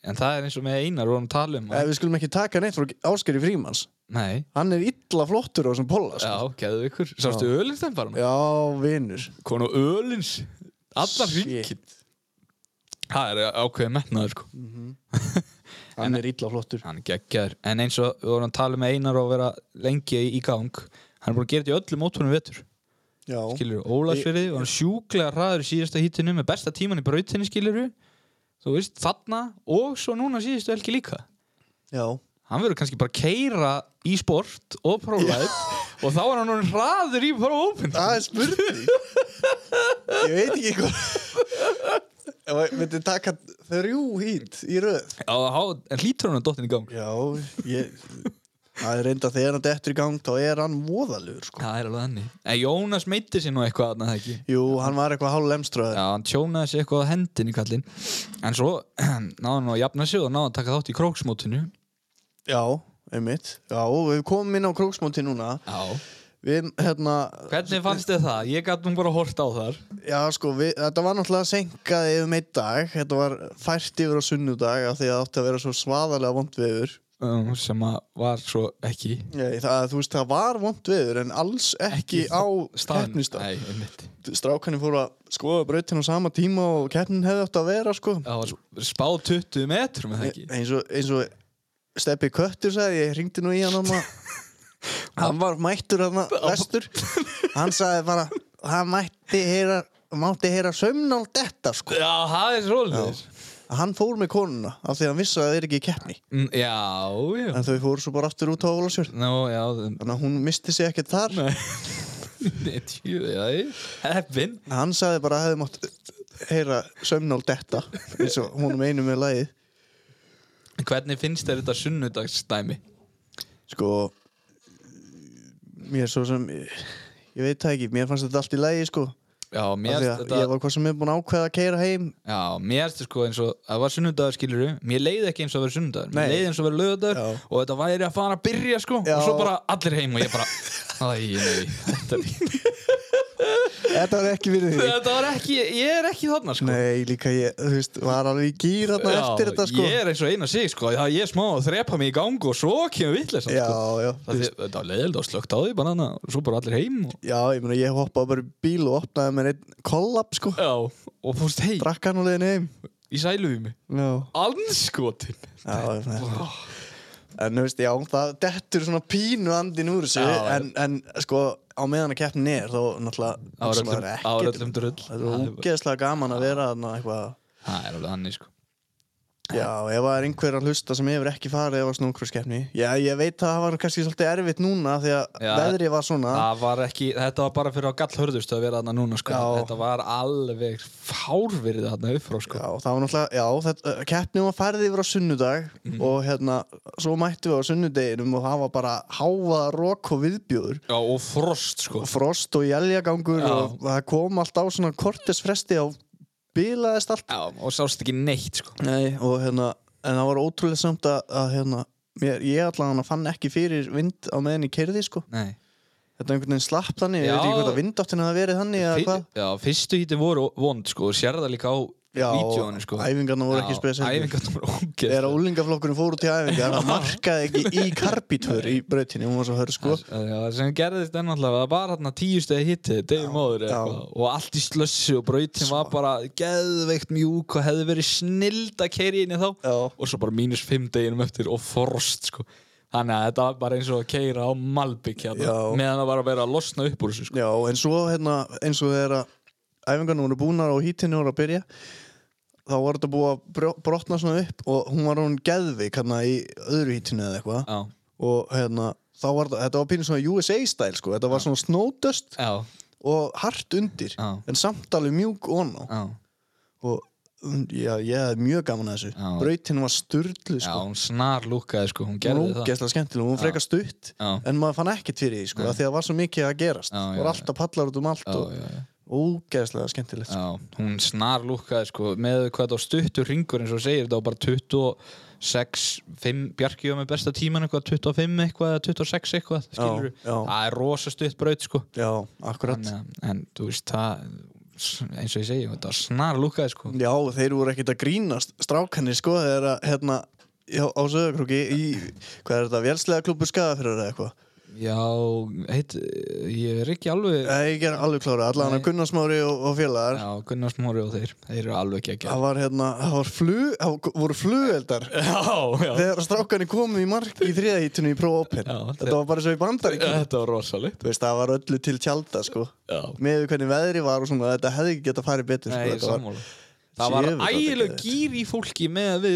B: en það er eins og með Einar vorum að tala um
A: Eh, Við skulum ekki taka neitt frá Áskeri Frímans
B: Nei,
A: Hann er illa flottur á þessum polla
B: já,
A: sko.
B: geðu ykkur Sástu ölins þeim bara
A: Já, vinur
B: Konu ölins Allar
A: Shit.
B: hringin Það er ákveðið metnaður sko
A: Hann er illa flottur
B: Hann er geggjaður En eins og við vorum að tala með Einar og vera lengi í, í gang Hann er búin að gera þetta í öllum mótunum vetur
A: Já,
B: Skilur, Ólagsverið og hann er sjúklega hraður í síðasta hítinu með besta tíman í brautinni skilur Þú veist, þarna og svo núna síðustu helgi líka
A: já
B: hann verður kannski bara að keira í sport og próflæð og þá er hann orðinn hraður í bara open
A: Það er spurning Ég veit ekki hvað Ef við myndum taka þrjú hít í röð
B: Já, há- en hlýtur hann að dottin í gang
A: Já, ég Það er reynda þegar hann dettur í gang þá er hann voðalugur sko.
B: það er alveg henni en Jónas meiti sér nú eitthvað þarna, það ekki
A: Jú, hann var eitthvað hálf lemstraður
B: Já, hann tjónaði sér eitthvað á hendin í kallinn en svo náði hann að jafna sig og náði að taka þátt í króksmótinu
A: Já, einmitt Já, við komum inn á króksmóti núna
B: Já
A: Við, hérna
B: Hvernig fannst þið það? Ég gæti nú bara hort á þar
A: Já, sko, við, þetta var náttúrulega senkað yfir meitt dag Þetta var fært yfir á sunnudag af því að það átti að vera svo svaðalega vond viður
B: um, sem að var svo ekki
A: Nei, það, þú veist, það var vond viður en alls ekki, á
B: Staðnum.
A: keppnistað.
B: Nei, einmitt
A: Strákanir fóru að skoða brautin á sama tíma og keppnin hefði átt að vera, sko.
B: Það var spá 20 metrum eða ekki
A: Eins og, eins og Steppi Köttur sagði, ég ringdi nú í hann hann hann var mættur hann vestur. Hann sagði bara, hann mætti heyra, mátti heyra sömnál detta, sko.
B: Já, það er svolítið
A: Hann fór með konuna af því að hann vissi að það er ekki í keppni.
B: Mm, Já, já
A: En þau fóru svo bara aftur út á Ólasjörn.
B: Nú, já það-
A: Þannig að hún misti sig ekkert þar.
B: Nei Nei, tjú, já, Heppin
A: Hann sagði bara að hefði mátt heyra sömnál detta eins og hún meinu með lagið
B: Hvernig finnst þér þetta sunnudagsdæmi?
A: sko mér svo sem ég veit það ekki, mér fannst þetta allt í lagi sko
B: Já,
A: Af því
B: mér
A: að
B: finnst þetta
A: ég var hvað sem er búin að ákveða að keira heim
B: Já, mér finnst þetta sko eins og Það var sunnudagur skiluru Mér leiði ekki eins og að vera sunnudagur Mér
A: Nei.
B: leiði eins og að vera lögudagur
A: Já.
B: Og þetta væri að fara að byrja sko
A: Já.
B: Og svo bara allir heim og ég bara Æ, nei
A: þetta
B: Þetta, er-
A: var ekki fyrir því
B: þetta var ekki Ég er ekki þarna sko
A: nei, líka ég, þú veist, var alveg í gýr þarna eftir þetta sko
B: Ég er eins og eina sig sko Það ég er smá að þrepa mig í gang Og svo kemur vitlesan
A: já,
B: sko
A: já,
B: Það
A: þú
B: er-
A: veist,
B: Þetta var leiðild og slögt á því bara hana og Svo bara allir heim og...
A: já, ég meina ég hoppaði bara í bíl og opnaði með einn kollab sko,
B: Já, og fórst heim
A: drakk hann og leiðin heim
B: í sæluhjumi
A: já,
B: Anskotin
A: já, ég meina En þú veist, já, það dettur svona pínu andin úr þessu
B: Já, já.
A: en, en sko, á meðan að keppnin er þá náttúrulega
B: Það var
A: hugsar maður
B: öllum-
A: ekkert
B: það var
A: um
B: öllum drull.
A: Það
B: Það
A: er
B: er bara-
A: ógeðslega gaman að vera þarna eitthvað
B: Það er alveg hann sko.
A: Já, ef það er einhver að hlusta sem hefur ekki farið á snókruðskeppni Já, ég veit að það var kannski svolítið erfitt núna því að
B: Já,
A: veðrið var svona
B: Það var ekki, þetta var bara fyrir á gallhörðust að vera þarna núna sko.
A: Já.
B: Þetta var alveg fárverið þarna upp frá sko.
A: Já, það var náttúrulega, já, þetta, keppnin var færið yfir á sunnudag
B: Mhm.
A: og hérna, svo mættum við á sunnudeginum og það var bara háfaða rok og viðbjóður
B: Já, og frost sko.
A: frost og jæljagangur
B: Já.
A: og það kom allt á svona kortisfresti og bilaðist allt
B: Já, og sást ekki neitt sko.
A: Nei, og hérna, en það var ótrúlega samt að, að hérna, mér, ég allan að fann ekki fyrir vind á meðan í kerði sko.
B: Nei.
A: þetta einhvern veginn slapp þannig, ég
B: Já.
A: veit ekki hvort að vindáttin hafa verið þannig eða
B: Fyr,
A: hvað
B: já, fyrstu hítin voru vond sko, og sér það líka á vídjónu sko.
A: æfingarna voru ekki spes heldur.
B: Æfingarna voru
A: þegar sko.
B: ógeð
A: úlingaflokkurinn fóru til æfingar það markaði ekki í karbítvör í brautinni, hún var svo hör sko.
B: Já, það sem gerðist ennáttúrulega það var hérna tíustegi hitti, degum móður
A: já.
B: og allt í slössu og brautin var bara geðveikt mjúk og hefði verið snild að keiri inn í þá
A: Já.
B: og svo bara mínus fimm deginum eftir og frost sko. þannig að þetta var bara eins og að keira á Malbygg hérna,
A: Já.
B: meðan það var að vera að losna upp úr þessu sko.
A: Já, en svo hérna, eins og þegar að æfingarna voru búnar og hítinu voru að byrja þá var þetta búið að brjó- brotna svona upp og hún var hún geðvik hérna í öðru hítinu eða eitthvað
B: já,
A: og hérna, þá var þetta, þetta var pínu svona USA style sko, þetta var svona snowdust
B: já,
A: og hart undir
B: Já.
A: en samt alveg mjúk on á
B: já,
A: og mm, já, ég hafði mjög gaman að þessu
B: Já.
A: brautin var sturlu
B: já,
A: sko.
B: hún snar lúkaði sko, hún
A: hún
B: gerði
A: var
B: það
A: ógeðslega skemmtileg, hún var frekar stutt
B: Já.
A: en maður fann ekkert fyrir því sko, af því að það var svo mikið að gerast
B: Já,
A: Það
B: já,
A: voru alltaf pallar út um allt
B: já,
A: og
B: já, já.
A: ógeðslega skemmtilegt sko.
B: Já, hún snar lúkaði sko með hvað þetta á stuttur ringur eins og þú segir þetta var bara 26 5, Bjarki var með besta tíman eitthvað 25 eitthvað eða 26 eitthvað skilur
A: já.
B: það er rosa stutt braut sko
A: já, akkurat
B: en, en þú veist það eins og ég segi, þetta var snar lúkaði sko
A: já, þeir voru ekkert að grínast strákanir sko, þegar að hérna Já, á sögurkrúki í, hvað er þetta, vélslega klubur skaðafyrir eða eitthvað?
B: já, heit, ég er ekki alveg
A: Nei, ég er alveg klára, allavega
B: Nei.
A: Gunnarsmári og, og félagar.
B: já, Gunnar Smári og þeir, þeir eru alveg ekki
A: Það var hérna, það var flug, það voru flugeldar
B: já, já,
A: þegar strákanir komu í mark í þriðahýttunni í prófópin.
B: Já,
A: Þetta
B: þeir-
A: var bara svo í bandaríkjum.
B: þetta var rosalegt
A: Þú veist, það var öllu til tjálta, sko.
B: já,
A: með við hvernig veðri var og svona þetta hefði ekki gett að fara betur
B: nei,
A: sko, þetta
B: sammála það var
A: Sjöfull, þetta
B: ægileg
A: geðveikt.
B: gýr í fólki með að við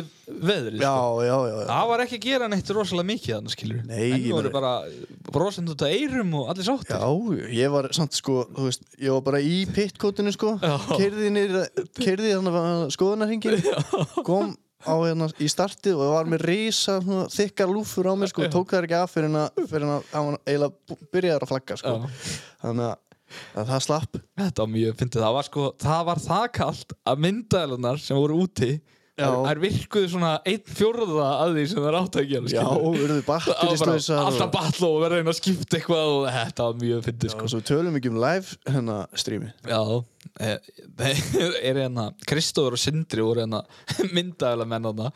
B: veðrið sko.
A: var, já, já, já, já.
B: Það var ekki að gera neitt rosalega mikið þannig skilur
A: Nei,
B: En
A: ég
B: nú eru
A: meina-
B: bara brosend út að eyrum og allir sáttir
A: já, ég var samt sko þú veist, ég var bara í pittkótinu sko
B: Já.
A: keirði þannig að skoðunarhingin hérna kom á hérna í startið og var með risa svona, þykkar lúfur á mér sko
B: Já.
A: tók það ekki af fyrir en að, fyrir en að hann var eiginlega bú- byrjaður að flagga sko
B: Já.
A: þannig að, að það slapp
B: Þetta var mjög fyndið, það var sko Það var það kallt að myndaðalunar sem voru úti
A: Já.
B: þær- Þær virkuðu svona einn fjórða að því sem þær áttu að
A: já,
B: gera skilurðu.
A: urðu
B: Það var bara
A: batterislausar
B: alltaf batla og verða einn að skipta eitthvað og þetta var mjög fyndið sko
A: og svo tölum ekki um live hérna streami
B: Já, eh, þeir eru hérna Kristóður og Sindri voru hérna myndaðilega menn hérna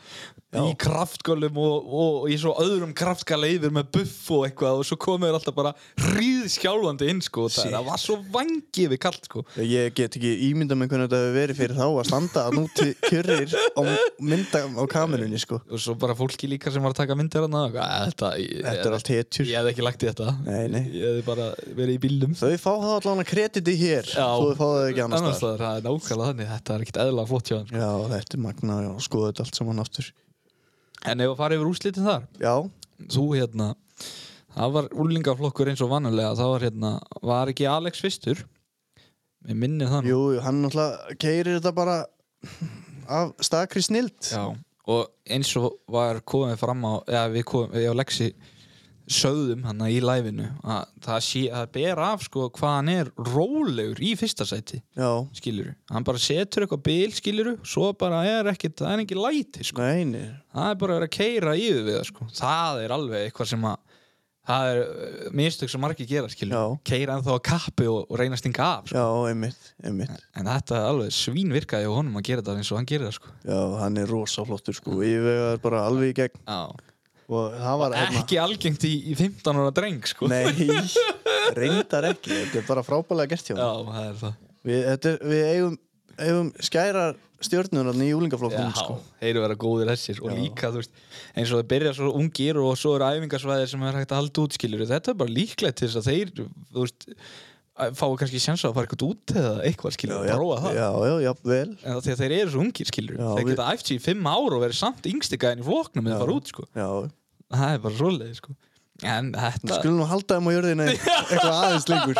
B: í kraftgölum og, og, og í svo öðrum kraftgaleifir með buff og eitthvað og svo komið þeir alltaf bara ríð skjálfandi inn sko, það,
A: Shit.
B: það var svo vangið við kallt sko
A: Já, Ég get ekki ímynda með hvernig þetta hefur verið fyrir þá að standa að núti kjörrir á mynda á kamerunni sko.
B: og svo bara fólki líka sem var að taka myndir hérna og eitthvað, "Eh, þetta, ég-
A: Þetta er allt hetjur.
B: ég hefði ekki lagt í þetta
A: Nei, nei.
B: ég hefði bara verið í bílum
A: Þau fá það allan að krediti hér þú fá það ekki annars staðar.
B: staðar, það er nákvæmlega þannig þetta er ekkert eðla flott hjá þeim sko.
A: Já, þetta er magna og skoða þetta allt saman aftur.
B: en ef að fara yfir úrslitin þar
A: Já,
B: þú hérna það var úlingaflokkur eins og vanalega það var hérna, var ekki Alex fyrstur ég minni það nú
A: jú, jú, hann náttúrulega keirir þetta bara af stakri snild.
B: Já. og eins og var komið fram á eða við komum, ég og Lexi sögðum hann í læfinu að það, sé, það ber af sko hvað hann er rólegur í fyrsta sæti
A: Já,
B: skiluru, hann bara setur eitthvað bil skiluru, svo bara er ekkit það er ekki læti sko,
A: nei, nei.
B: það er bara að vera að keira yfir við það sko, það er alveg eitthvað sem að það er uh, mistök sem margir gera skilur
A: Já.
B: keira ennþá að kappi og, og reyna að stinga af sko.
A: Já, einmitt, einmitt.
B: en þetta er alveg svínvirkaði á honum að gera þetta eins og hann gerir það sko.
A: Já, hann er rosa flottur sko. Ég vegar bara alveg í gegn og það var hérna-
B: ekki algengt í, í 15 ára dreng sko.
A: Nei, reyndar ekki. Þetta er bara frábælega gert hjá hann.
B: Já, það er það
A: Við, þetta er, við eigum, eigum skærar stjórnurnar í júlingaflokknum sko.
B: þeir eru að vera góðir þessir og líka, þú veist, eins og þeir byrja svo ungir og svo eru æfingarsvæðir sem er hægt að halda út skilur, þetta er bara líklegt til þess að þeir þú veist, að- fái kannski sjensa að fara eitthvað út eða eitthvað skilur,
A: já,
B: prófa það
A: já, já, já, vel
B: en það þegar þeir eru svo ungir skilur
A: Já,
B: þeir
A: við-
B: geta æft sér í fimm ár og verið samt yngsti gæðin í floknum eða fara út sko
A: já.
B: það er bara svoleiði sko en þetta,
A: Skulum nú halda þeim á jörðina eitthvað aðeins lengur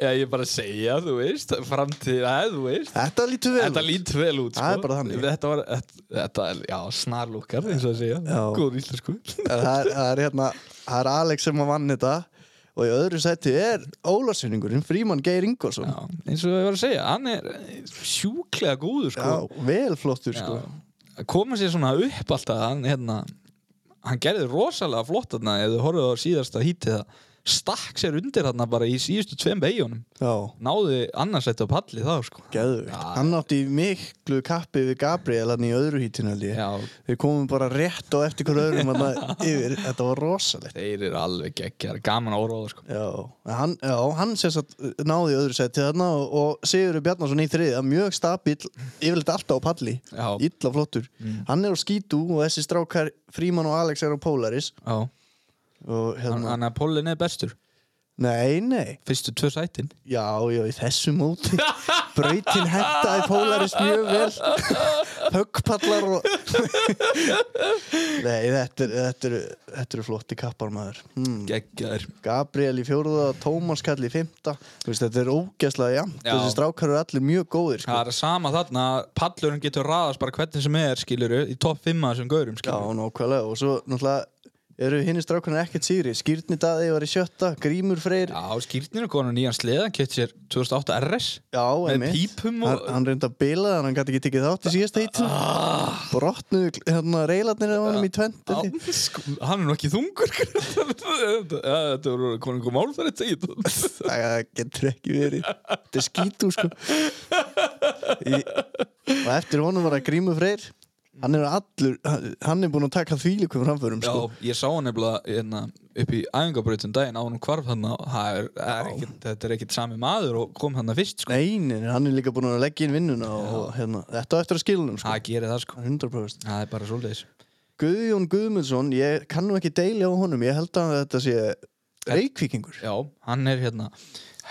B: já ég er bara að segja þú veist, framtíð að þú veist
A: Þetta lítur vel
B: þetta
A: út.
B: lít vel út sko
A: Það er bara þannig.
B: þetta var, þetta, þetta er, já, snarlúkar eins og að segja,
A: Já.
B: góð íslensku
A: En það, er, það er hérna, það er Alex sem að vann þetta og í öðru seti er Ólarsynningurinn Fríman Geir Ingolson
B: já, eins og ég var að segja, hann er sjúklega góður
A: já,
B: sko
A: vel flottur
B: Já.
A: sko
B: að koma sér svona upp alltaf hann, hérna, hann gerði rosalega flott þarna ef þú horfðu á síðasta hítið það stakk sér undir þarna bara í síðustu tveim beigjónum
A: Já,
B: náði annarsætt á palli þá sko
A: geðvikt
B: Já.
A: Hann átti í miklu kappi við Gabriel hann í öðru hítinu held ég
B: Já,
A: Við komum bara rétt á eftir hver öðrum þarna yfir, þetta var rosalegt
B: þeir eru alveg geggjar, gaman að orða sko.
A: Já, en hann, já, hann sem sagt náði í öðru seti þarna og, og Sigurður Bjarnason í þriða, mjög stabil yfirleitt alltaf á palli,
B: Já. Mm.
A: illa flottur hann er á skítu og þessi strákar Fríman og Alex er á Polaris
B: Já,
A: og
B: hann-
A: hérna,
B: hann að Pólin er bestur
A: nei, nei
B: fyrstu tvö sætin
A: já, já, í þessu móti brautin hentaði Polaris mjög vel höggpallar og nei, þetta eru þetta eru þetta eru flotti kappar maður
B: Mm.
A: hmm.
B: Geggjaður
A: Gabriel í fjóruða, Tómas Kall í fymta veist, þetta er ógæslega jafnt
B: Já.
A: þessi strákar eru allir mjög góðir sko.
B: Það er sama þarna, pallurinn getur raðast bara hvernig sem er, skiluru, í topp 5 að þessum gaurum,
A: já,
B: skiluru.
A: nákvæmlega og svo náttúrulega eru hinni strákarna ekkert síri Skýrni Daði var í sjötta, Grímur Freyr
B: Já, skýrnir er konar nýjan sleðan, kett sér 2008 RS
A: já,
B: með
A: einmitt
B: pípum
A: Hann,
B: og...
A: hann reynda að bila hann, hann gæti ekki tekið þátt í síðasta hýttu
B: Ah,
A: brotnuðu gl- hérna, reilarnir af honum í tvend
B: á, sko, hann er nú ekki þungur Þetta ja, þetta voru konungum málfæri tegit
A: það getur ekki verið þetta er skítu sko í, og eftir honum var að grímu freyr hann er allur hann- hann er búinn að taka þvílikum framförum
B: Já,
A: sko.
B: ég sá hann nefnilega hérna, upp í æfingabrautum daginn á hann hvarf hann Þetta er ekkit sami maður og kom hann fyrst sko.
A: neinin, hann er líka búinn að leggja inn vinnuna og hérna, þetta á eftir að skilunum sko.
B: Það gerir það sko
A: 100%
B: Það er bara svoleiðis
A: Guðjón Guðmundsson, ég kann nú ekki deilja á honum ég held að þetta sé reykvíkingur
B: Já, hann er hérna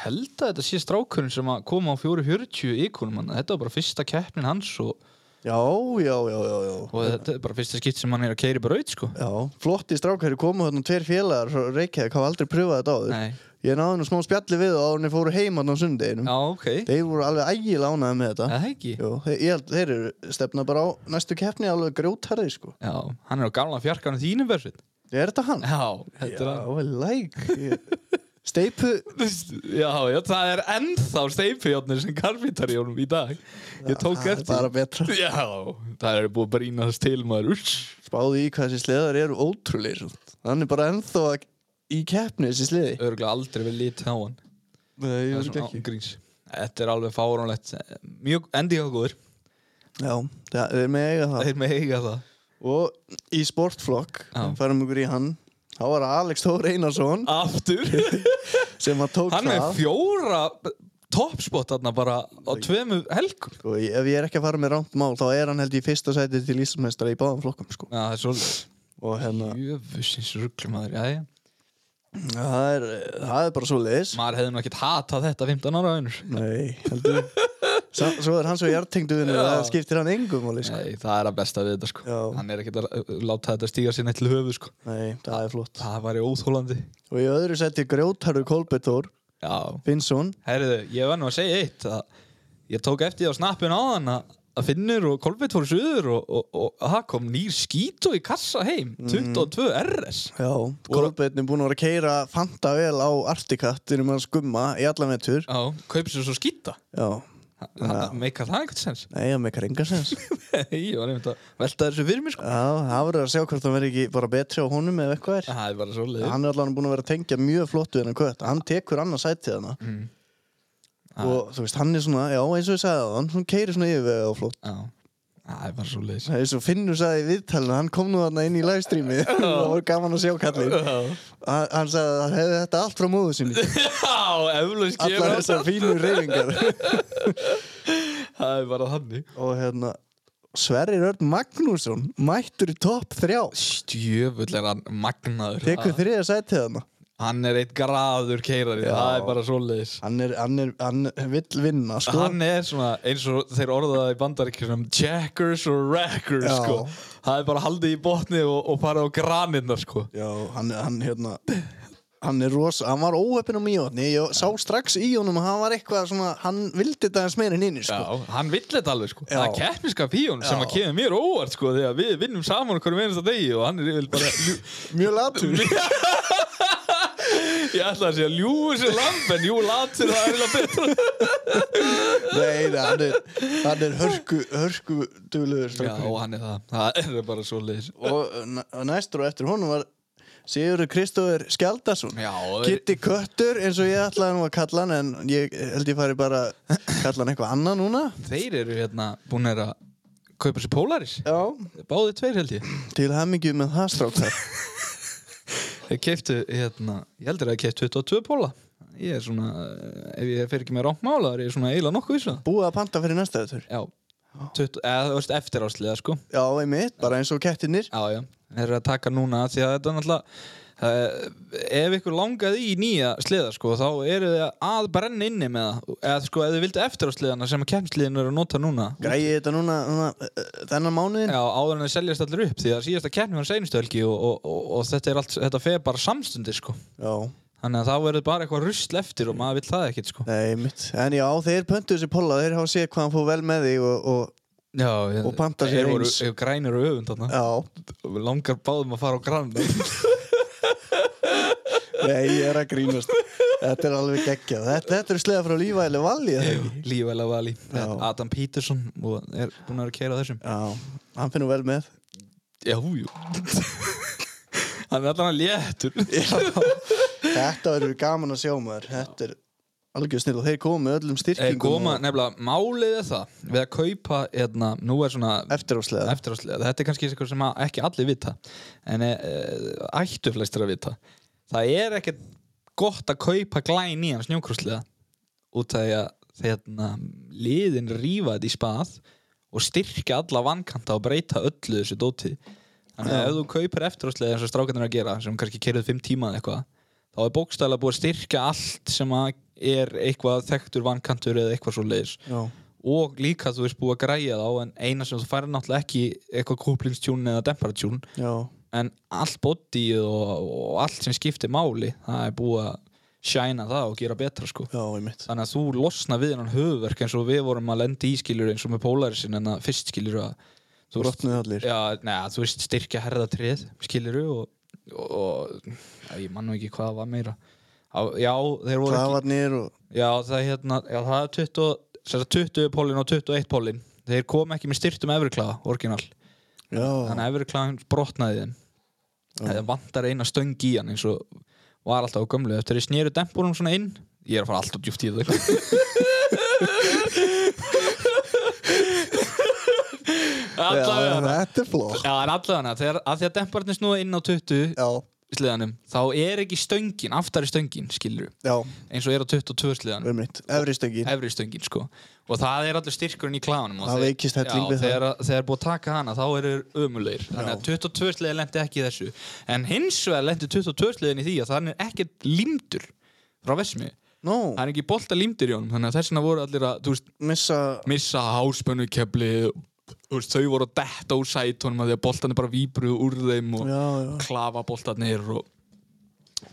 B: held að þetta sé strákurinn sem að koma á 440 íkonum hann þetta var bara fyrsta keppnin hans og,
A: já, já, já, já, já.
B: og þetta er bara fyrsta skipt sem hann er að keiri braut sko
A: Já, flotti strákæri komu þarna tveir félagar frá Reykjavík, hafa aldrei pröfað þetta áður
B: Nei,
A: Ég náði nú smá spjalli við þá áður en þeir fóru heim þarna á sundeginum
B: já ok Það
A: Þeir voru alveg ægil ánaði með þetta
B: er ekki
A: Jú, þeir, ég held þeir eru stefna bara á næstu keppni alveg grjótarði sko
B: Já, hann er á gamla fjarkanum þínum versin
A: Er þetta hann?
B: Já, þetta er hann
A: Já, læk Ég- Steipu,
B: Já, já, það er ennþá steipjónir sem karfítar í honum í dag Ég tók
A: það er
B: eftir
A: bara betra
B: Já, það er búið að brína þess til maður Uss.
A: Spáði í hvað þessi sleðar eru ótrúleir Hann er bara ennþá að- í keppni þessi sleði
B: Örugglega aldrei við lítið á hann
A: Nei,
B: Það er
A: ég veit
B: svona
A: ekki
B: ángríns. Þetta er alveg fáránlegt Mjög endið á góður
A: Já, það er með eiga það
B: Þeir með eiga það
A: Og í sportflokk,
B: Já.
A: færum ykkur í hann Þá var það Alex Þór Einarsson
B: Aftur
A: sem að tók
B: Hann er
A: það
B: fjóra toppspot þarna bara á tveimu helgum
A: Sko, ég- ef ég er ekki að fara með rámt mál þá er hann held ég í fyrsta sæti til Íslandsmeistara í báðum flokkum sko.
B: Já, það er svolítið
A: og hérna,
B: Jöfusins rugglumadur, já, já
A: það er, það er bara svo leiðis
B: Maður hefði nú ekkert hatað þetta 15 ára önur
A: Nei, heldur Sa, Svo er hann svo hjartengdu vinnur
B: Já.
A: það skiptir hann engum máli sko.
B: Nei, það er að besta við þetta sko
A: Já.
B: Hann er ekkert að uh, láta þetta stíga sér neitt til höfu sko
A: Nei, það er flott
B: Það væri óþólandi
A: Og í öðru sæti grjótarðu Kolbetur
B: Já,
A: Finnsson
B: herriðu, ég var nú að segja eitt að ég tók eftir því á snappin áðan að að Finnur og Kolbett fóru suður og, og, og, og það kom nýr skítu í kassa heim 22 RS
A: Já, Kolbetur er búin að vera að keira fanta vel á Artikat innum að skumma í alla metur
B: Já, kaupið sér svo skýta
A: Já, Já.
B: meikar það einhvern sens
A: nei, það meikar enga sens Já,
B: ég var einmitt að velta þessu fyrir mér sko
A: það verður að sjá hvort það verður ekki bara betri á honum eða eitthvað er
B: það er bara svo
A: Já,
B: leið
A: hann er allavega búin að vera að tengja mjög flott við hennar kött hann tekur annars sætið hana og þú veist, hann er svona, já eins og ég sagði hann, hann keiri svona yfirvega og flott
B: það er bara svo leið
A: eins og Finnur sagði í viðtalinu, hann kom nú þarna inn í livestreami og það voru gaman að sjá kallin hann hann sagði að hann hefði þetta allt frá móðu sinni
B: já, eflaust
A: allar
B: gefur
A: þessar fínu reyfingar
B: það er bara þannig
A: og hérna Sverrir Örn Magnússon mættur í topp þrjá
B: stjöfull er hann magnaður
A: tekur þriða sætið hana
B: hann er eitt graður keirari
A: Já.
B: það er bara svo leiðis
A: hann er, hann er, hann vill vinna sko
B: hann er svona eins og þeir orðaða í bandaríkjum checkers og wreckers
A: Já.
B: sko. það er bara haldið í botni og, og farið á granina sko.
A: Já, hann, hann hérna Hann er rosa, hann var óöppin á mýjóðni Ég sá strax í honum að hann var eitthvað svona Hann vildi þetta eins meira en inni
B: Já,
A: sko.
B: hann vill þetta alveg sko.
A: Já.
B: Það er keppniska píón sem
A: Já.
B: að kemur mér óvart sko þegar við vinnum saman hverjum einasta degi og hann er yfir bara
A: Mjög latur
B: ég ætla að segja ljúur sér lamp en jú latur það er eiginlega betra sko.
A: Nei, nei, hann er, hann er hörku, hörku duglegur
B: Já,
A: strákur.
B: hann er það, það er bara svo leiðis
A: Og næ- næstur og eftir honum var Sigurður Kristóður Skjaldarsson
B: Já,
A: Kitty Köttur eins og ég ætlaði nú að kalla hann En ég held ég fari bara að kalla hann eitthvað annað núna
B: þeir eru hérna búin að kaupa sér Polaris
A: Já
B: Báði tveir held ég
A: Til hemmingju með það strákar
B: Þeir keiftu, hérna, ég heldur að þeir keiftu 22 póla Ég er svona, eh, ef ég fer ekki með rámmála er ég svona eiginlega nokkuð vissna
A: Búið að panta fyrir næsta þetta
B: Já, 20, eða þú veist eftir ásliða sko
A: Já, einmitt, bara eins og kettinir
B: Já, já, þeir eru að taka núna því að þetta er náttúrulega Uh, ef ykkur langaði í nýja sleða sko, þá eru þið að brenna inni með það eða sko, ef þið vildu eftir á sleðana sem að kemsliðin eru að nota núna
A: Græði þetta núna, núna uh, þennan mánuðin?
B: Já, áður en það seljast allir upp því að síðasta keppni var seinustu helgi og, og, og, og þetta er allt, þetta fer bara samstundi sko.
A: Já.
B: þannig að þá verður bara eitthvað rusl eftir og maður vill það ekkert sko.
A: Nei, mitt. En já, þeir pöntuðu sér Polla, þeir hafa séð hvað hann fór vel með þig og, og
B: Já, ég,
A: Og panta sér
B: Þeir voru-
A: eins.
B: þeir voru grænir og öfund þarna
A: já,
B: Við langar báðum að fara á grann
A: nei, ég er að grínast. þetta er alveg geggjað. Þetta, þetta eru sleða frá lífæli valli, eða ekki?
B: Lífæla vali
A: Já.
B: Adam Peterson og er búin að vera að keira þessum
A: Já, hann finnur vel með.
B: Já, jú Hann er allan að léttur
A: Þetta verður gaman að sjá maður. Þetta er algjör snill og þeir koma með öllum
B: Eh,
A: styrkingum
B: koma, nefnilega, málið er það við að kaupa, hérna, nú er svona
A: og eftir á sleða.
B: eftirháslega, þetta er kannski eitthvað sem að ekki allir vita en e, ættu flestir að vita það er ekkert gott að kaupa glæn í hann snjókrúslega út af því að hérna, liðin rífa þetta í spað og styrkja alla vankanta og breyta öllu þessu dóti þannig að ef þú kaupir eftirháslega eins og strákarnir eru að gera sem kannski kerðið 5 tíma eða eitthvað þá er bókstæðlega búið að styrkja allt sem að er eitthvað þekktur vankantur eða eitthvað svo leiðis
A: Já,
B: og líka þú veist búið að græja þá en eina sem þú færir náttúrulega ekki eitthvað kúplingstjún eða demparatjún
A: já,
B: en allt body og, og allt sem skiptir máli það er búið að shæna það og gera betra sko
A: já, ég mitt.
B: þannig að þú losna við hann höfverk eins og við vorum að lenda í skiljur eins og með pólarisin en að fyrst skiljur að þú veist,
A: Brotnuð allir.
B: já, neða, þú veist styrkja herðatrið skiljur og, og já, ég mann nú ekki hvað var meira Á- já, þeir voru ekki
A: Klafarnir og...
B: Já, það er hérna, já, það er 20, sem sagt 20 pólinn og 21 pólinn. Þeir kom ekki með styrtum efriklaða, orginal.
A: Já,
B: Þannig að efriklaðan brotnaði þeim. Það vantar eina stöng í hann eins og var alltaf á gömlu. Eftir þeir snýru dempunum svona inn, ég er að fara alltaf djúpt í það.
A: já,
B: allavega.
A: þetta er flott.
B: Já, en allavega, þegar að því að demparnir snúa inn á 20
A: Já,
B: sliðanum, þá er ekki stöngin, aftari stöngin, skilur
A: já,
B: eins og er á 22 sliðanum.
A: við mitt. Efri stöngin.
B: efri stöngin sko og það er allir styrkurinn í kláðanum og
A: Það
B: þeir-
A: veikist helling
B: já,
A: við það.
B: þegar, þegar búið að taka hana þá eru þeir ömulegir þannig að 22 sliði lendi ekki í þessu en hins vegar lendi 22 sliðin í því að þannig er ekkert límdur frá vesmi
A: Nú,
B: það er ekki bolta límdur í honum þannig að þess vegna voru allir að þú veist,
A: missa...
B: missa háspennu kefli veist, þau voru að detta úr sætunum að því að boltan er bara víbruð úr þeim og
A: Já, já.
B: klafa boltanir og,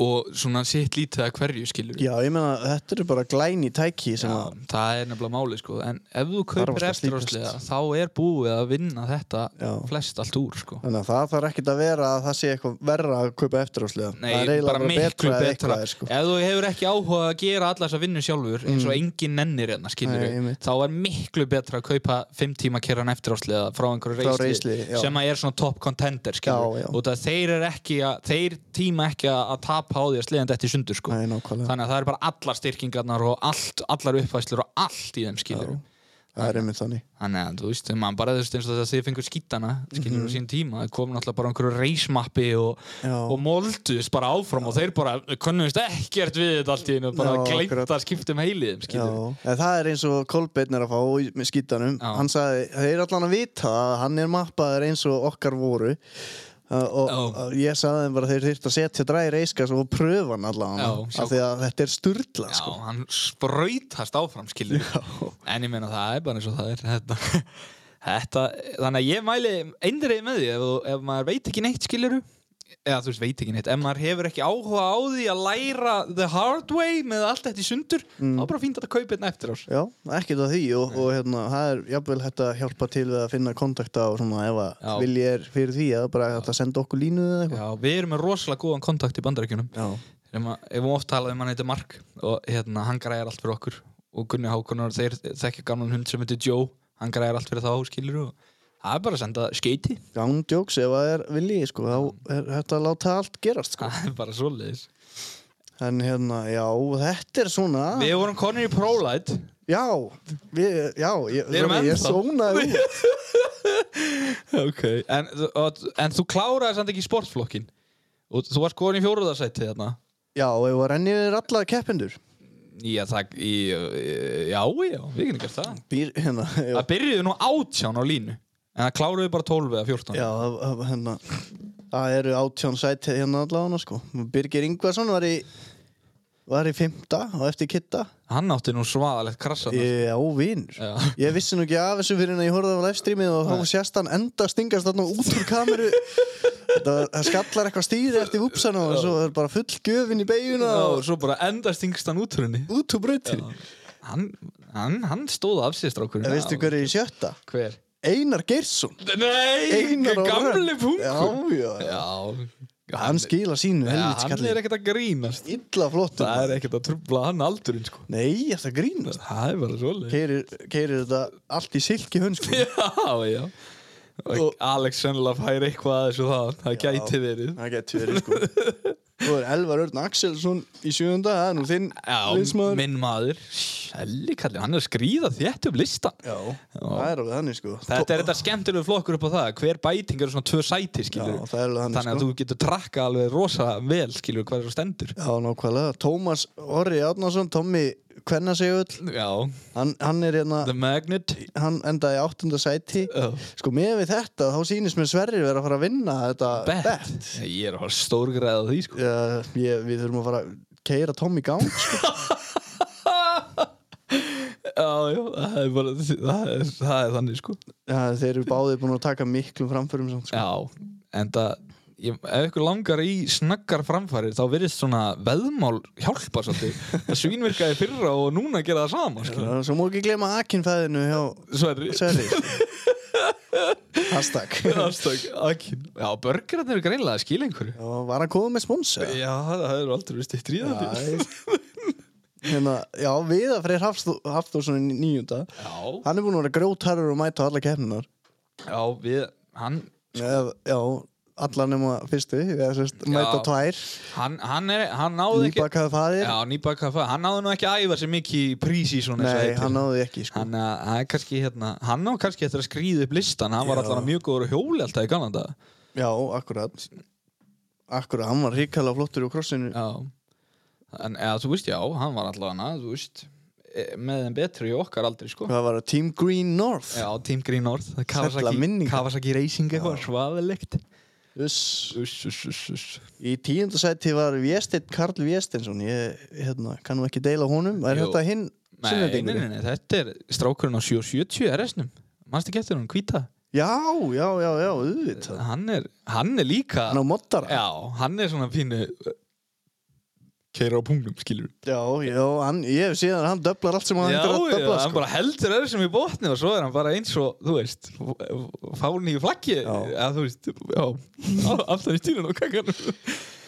B: og svona sitt lítið að hverju skilur
A: Já, ég meina, þetta eru bara glæni tæki sem
B: Já,
A: að...
B: það er nefnilega máli sko en ef þú
A: Þarf
B: kaupir
A: að slípast.
B: eftirháslega þá er búið að vinna þetta
A: Já.
B: flest allt úr sko
A: Þannig að það þarf ekkert að vera að það sé eitthvað verra að kaupa eftirháslega.
B: Nei,
A: það er eiginlega
B: bara miklu
A: ef
B: betra,
A: eitthvað er, sko. Mm.
B: ef þú hefur ekki áhuga að gera alla þessa vinnu sjálfur eins og enginn nennir hérna skilur
A: Nei, einmitt.
B: þá er miklu betra að kaupa 5 tíma kerran eftirháslega frá einhverju
A: Frá
B: reisli
A: reisliði, já.
B: sem að er svona top contender skilur
A: Já, já.
B: og það þeir, er ekki að, þeir tíma ekki að að tapa á því að sliðan þetta í sundur sko
A: Nei, nákvæmlega.
B: þannig að það er bara allar styrkingarnar og allt, allar uppfæslur og allt í þeim skilur
A: Það er einmitt þannig.
B: Þannig að þú veist, mann bara þú veist eins og þess að þið fengur skítana, skilur mm á sín tíma, það kom náttúrulega bara á einhverju reismappi og,
A: Mhm. Já.
B: og molduðist bara áfram og þeir bara konnuðist ekkert við þetta allt í einu, bara
A: Já,
B: gleymt
A: akkurat.
B: að skipta um heiliðum,
A: Já,
B: skilur
A: en það er eins og Kolbeinn er að fá í- með skítanum.
B: Já.
A: Hann sagði, þeir allan að vita að hann er mappaður eins og okkar voru. Uh, og
B: Já.
A: uh, ég sagði þeim bara að þeir þurft að setja dræði reiskas og pröfa hann allan
B: Já,
A: af
B: sjá-
A: því að þetta er sturla
B: Já,
A: sko.
B: hann sprautast áfram, skilur
A: Já.
B: En ég meina það er bara eins og það er þetta, þetta Þannig að ég mæli eindriði með því ef, þú- ef maður veit ekki neitt, skilur eða þú veist, veit ekki neitt, ef maður hefur ekki áhuga á því að læra the hard way með allt þetta í sundur,
A: Mm.
B: þá er bara fínt að kaupa einn eftir ás
A: Já, ekkert að því og, og hérna, það er jafnvel hægt að hjálpa til við að finna kontakta og svona ef
B: Já.
A: að vilji er fyrir því að bara hægt að senda okkur línu eða eitthvað.
B: Já, við erum með rosalega góðan kontakt í bandarækjunum
A: Já.
B: sem að, ef við oft talaði um hann heitir Mark og hérna, hann græðir allt fyrir okkur og Gunni Hákonar, þeir þekkja gamlan hund sem heitir Joe, hann græðir allt fyrir þá skilur og það er bara að senda skeiti
A: Án djóks ef að er vilji, sko, þá er hægt að láta allt gerast, sko.
B: það er bara svoleiðis
A: En hérna, já, þetta er svona,
B: Við vorum konir í ProLight
A: já, við, já, ég,
B: Við erum
A: sorry, ég
B: ennþá.
A: sónaði út.
B: okay. en, þú- og, en þú kláraði samt ekki sportflokkin og þú varst konir í fjóruðarsæti þarna
A: Já, ef að renni við alla keppendur.
B: Já, það, í, í- já, já, við getum gert það
A: Býr, hérna, já,
B: Það byrjuði nú átján á línu en það kláruði bara 12 eða 14
A: já, það- það- hérna, Það eru átjón sæti hérna allavega sko. Birgir Ingvarsson var í var í fymta og eftir kitta
B: Hann átti nú svaðalegt krassa þarna,
A: Já, vinur
B: Já.
A: Ég vissi nú ekki af þessu fyrir en ég horfði á livestreamið og þá sérst hann enda stingast þarna út úr kameru Þetta var, það skallar eitthvað stýri eftir vupsana og svo er bara full gjöfin í beiguna
B: og
A: og
B: svo bara endast yngst hann út úr henni
A: út úr brautinni
B: hann, hann, hann stóð af sér strákurinn
A: En veistu hver er í sjötta?
B: hver?
A: Einar Geirsson
B: Nei,
A: Einar og
B: gamli
A: Rögn.
B: punkur
A: Já, já,
B: Já,
A: hann skila sínu
B: ja, hann
A: helvitskalli
B: er ekkert að grínast
A: Illa flottur
B: Það er ekkert að trubla hann aldurinn sko
A: Nei, þetta grínast
B: Það er bara svolítið
A: Keirir, keirir þetta allt í silki hönn sko
B: Já, já og Alex sennilega fær eitthvað að þessu það Það gæti verið
A: Það getur verið sko Þú er Elvar Örn Axelsson í sjöfunda Það er nú þinn
B: Já,
A: liðsmaður.
B: minn maður Selli kallið, hann er að skríða þétt upp listan
A: Já, það er alveg þannig sko
B: Þetta er þetta skemmtilegu flokkur upp á það Hver bæting eru svona tvö sæti skilur
A: Já, það er alveg þannig,
B: Þannig að
A: sko.
B: þú getur trakka alveg rosa vel skilur hvað er svo stendur
A: Já, nákvæmlega Tómas Orri Árnason, Tommy Kvennasegull
B: Já,
A: hann, hann er hérna
B: The Uh. Magnet
A: Hann endaði í áttunda sæti
B: Já.
A: Sko, með við þetta þá sýnist mér Sverrir vera að fara að vinna þetta
B: Bet, Ég er að fara stórgræða á því sko
A: Já, ég, Við þurfum að fara að keira Tommy í gang sko.
B: Já, já, það er bara Það er, það er þannig sko
A: Já, Þeir eru báðið búin að taka miklum framförum samt, sko.
B: Já, en það ég, ef ykkur langar í snaggar framfærir þá virðist svona veðmál hjálpa svolítið. Það svínvirkaði fyrra og núna gera það sama skilur.
A: Svo má ekki glema akinfæðinu hjá
B: Sverri,
A: Sverrir sko. Hashtag
B: Hashtag Akin. Já, börgararnir eru greinlega að skila einhverju.
A: Já, var að koma með sponsor
B: Já, það eru aldrei vist eitt ríðandi.
A: Já, hérna, já Viðar Freyr Hafþórsson í nýjunda
B: Já,
A: Hann er búin að vera grjótarur og mæta á alla keppnunar
B: já, við, hann,
A: Já, alla nema fyrstu eða, sérst, Mæta
B: Sko. Já.
A: tvær,
B: hann, hann er, hann náði ekki,
A: nýbakaði faðir
B: já, nýbaka hvað, hann náði nú ekki að æfa sér mikið í prísísón.
A: Nei, hann náði ekki sko.
B: Hann að- það er kannski hérna, hann á kannski eftir að skrýða upp listan, hann var
A: Já.
B: allan að mjög góður á hjóli alltaf í Galanda.
A: Já, akkurat Akkurat, hann var ríkala flottur úr krossinu
B: Já En eða, þú veist, já, hann var allavega þú veist, e- með þeim betri í okkar aldrei, sko
A: Hvað var það, Team Green North
B: Já, Team Green North, það er Kawasaki,
A: minningar.
B: Kawasaki Racing eitthvað, svaðalegt
A: Uss.
B: Uss, uss, uss, uss
A: Í tíunda sæti var Viesteinn Karl Viesteinsson Ég hérna, kannum ekki deila honum Er
B: Jú.
A: þetta hinn
B: Nei, nei,
A: Sunnlendingurinn?
B: nei, nei, þetta er strákurinn á 770 RS-num Manstu ekki eftir hún, hvíta
A: Já, já, já, já, auðvitað
B: Hann er, hann er líka
A: Hann á mottara
B: Já, hann er svona pínu eh, Keira á pungnum, skilur
A: Já, já, hann, ég hef síðan að hann döblar allt sem hann
B: Já,
A: endur að
B: já,
A: döbla
B: hann
A: sko.
B: bara heldur öðru sem í botni og svo er hann bara eins og, þú veist, fáni í flaggi,
A: Já.
B: eða þú veist, já, á- aftan í stýrun og kakkanum.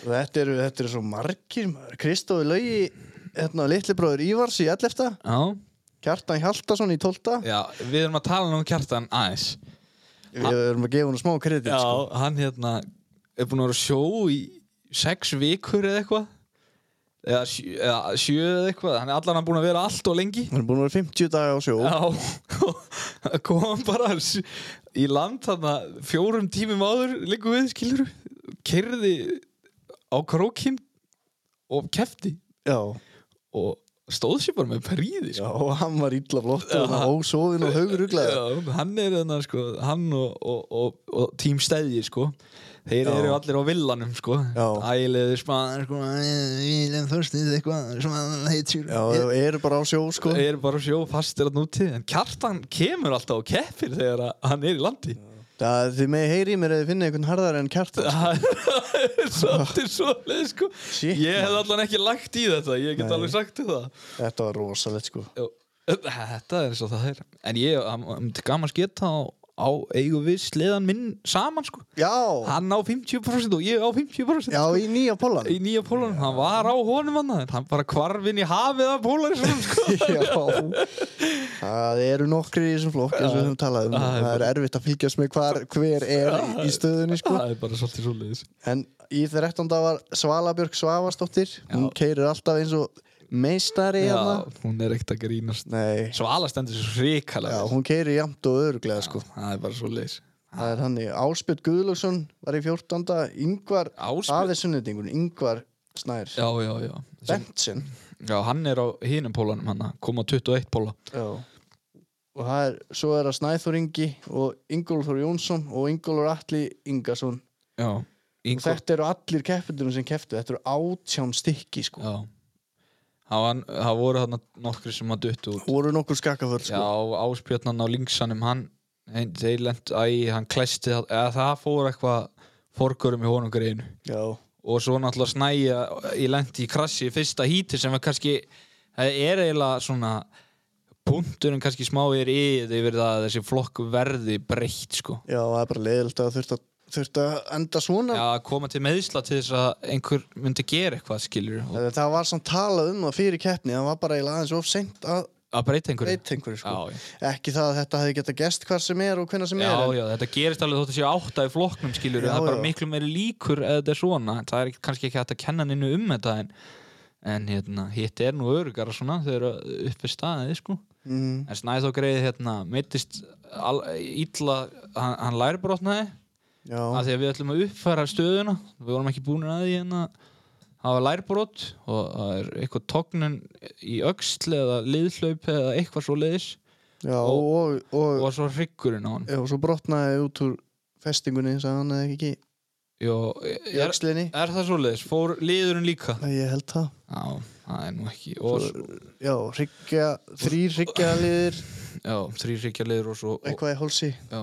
A: þetta, eru, þetta eru svo margir maður. Kristófi Laugi, hérna, litlibróður Ívars í 11.
B: Já,
A: Kjartan Hjaltason í 12.
B: já, við erum að tala nú um kjartan aðeins.
A: Við erum að gefa hann smá kredit
B: Já,
A: sko.
B: hann hérna er búin að vera á sjó í sex vikur eða eitthvað, eða, sjö- eða sjö eða eitthvað, hann er allan að búin að vera allt og lengi.
A: Hann er búin að vera 50 daga á sjó
B: Já, kom hann bara s- í land þarna fjórum tímum áður líku við, skilur kerði á krókinn og kefti
A: Já,
B: og stóð sér bara með príði
A: já
B: sko.
A: og hann var illa flottur og ósóðin og hauguruglaður
B: Já, hann er þarna sko, hann og, og, og, og tímstæði sko. þeir
A: Já.
B: eru allir á villanum sko.
A: Já.
B: æliður spaðar sko, æliður þörstið eitthvað svona heitir
A: Já, þau eru bara á sjó sko
B: er bara sjó fastir að núti en kjartan kemur alltaf og keppir þegar að hann er í landi
A: Það þið megi heyri í mér eða finna einhvern harðar en kjartan
B: það er svolítið svolítið sko
A: Shit,
B: ég hef
A: maður.
B: allan ekki lagt í þetta ég get
A: Nei.
B: alveg sagt þér það
A: Þetta var rosalegt sko
B: Jú, þetta er eins og það er en ég hann- hann myndi gaman sketa á, á eigum við sleðan minn saman sko
A: Já,
B: hann á 50% og ég á 50%
A: já í nýja pólan
B: í nýja pólunum, hann var á honum hann en hann bara kvarfin í hafið af pólunum sko.
A: Já, það eru nokkri í þessum flokk eins og við höfum talað um
B: Já, það er
A: það er erfitt að fylgjast með hvar, hver er í- í stöðunni sko.
B: það er bara svolítið svolítið
A: en í 13. var Svalabjörg Svavarsdóttir hún keirir alltaf eins og meistari
B: Já,
A: hérna
B: hún er ekkert að grínast
A: Nei,
B: Svala stendur svo
A: já,
B: hrikalega vel.
A: hún keirir jæmt og öruglega sko.
B: Það er bara svo leis
A: það er hann í Áspjöld Guðlöksson var í 14. Yngvar
B: Áspil
A: aðeins sunnendingun, Yngvar Snær
B: Já, já, já Sem,
A: Bentsen
B: Já, hann er á hinum pólanum hann Kom á 21 póla
A: Já. Og það er, svo er það Snæþór Ingi og Ingólfur Jónsson og Ingólfur Atli Ingason
B: Já
A: Og Þetta eru allir keppendunum sem kepptu Þetta eru átján stykki sko
B: Já Það, var, það voru þarna nokkri sem að duttu út
A: voru nokkur skakkaföll
B: Já,
A: sko
B: áspjörnan á linksanum hann, hann, þeir lent, æ, hann klæsti það, eða það fór eitthvað forgurum í honum greinu
A: Já,
B: og svo náttúrulega snæja ég lenti í krassi í fyrsta híti sem er kannski, það er eiginlega svona punkturinn kannski smá er yfir yfir það að þessi flokk verði breytt sko
A: já það er bara leiðilt að þurft að, þurft að enda svona
B: Já, að koma til meðsla til þess að einhver myndi gera eitthvað skilur og
A: Það, það var samt talað um það fyrir keppni það var bara eiginlega aðeins of seint að
B: að breyta einhverju
A: breyta einhverju sko
B: já, já.
A: Ekki það að þetta hefði getað gest hvar sem er og hvenna sem
B: já,
A: er en,
B: já, þetta gerist alveg þótt að séu átta í flokknum skilur
A: Já,
B: það er bara
A: já.
B: miklu meiri líkur eða þetta er svona það er ekki- kannski ekki hægt að kenna nynnu um þetta en, en hérna, hitt er nú örugara svona þegar uppi staðið sko
A: mm,
B: en Snæþó greið hérna mittist illa hann, hann lærbrotnaði
A: já,
B: af því að við ætlum að uppfæra stöðuna við vorum ekki búinir að því hérna það var lærbrot og það er eitthvað tognun í öxl eða liðhlaup eða eitthvað svo leiðis
A: já og, og, og,
B: og svo hryggurinn á hann
A: já, og svo brotnaði út úr festingunni sagði hann eða ekki
B: Jó,
A: í
B: er,
A: öxlinni
B: er það svo leiðis? Fór liðurinn líka?
A: Ég held það
B: Já, það er nú ekki og, svo,
A: Já, hryggja, þrýr hryggjaðliðir
B: já, þrý hryggja liður og svo og,
A: eitthvað í hólsi
B: já,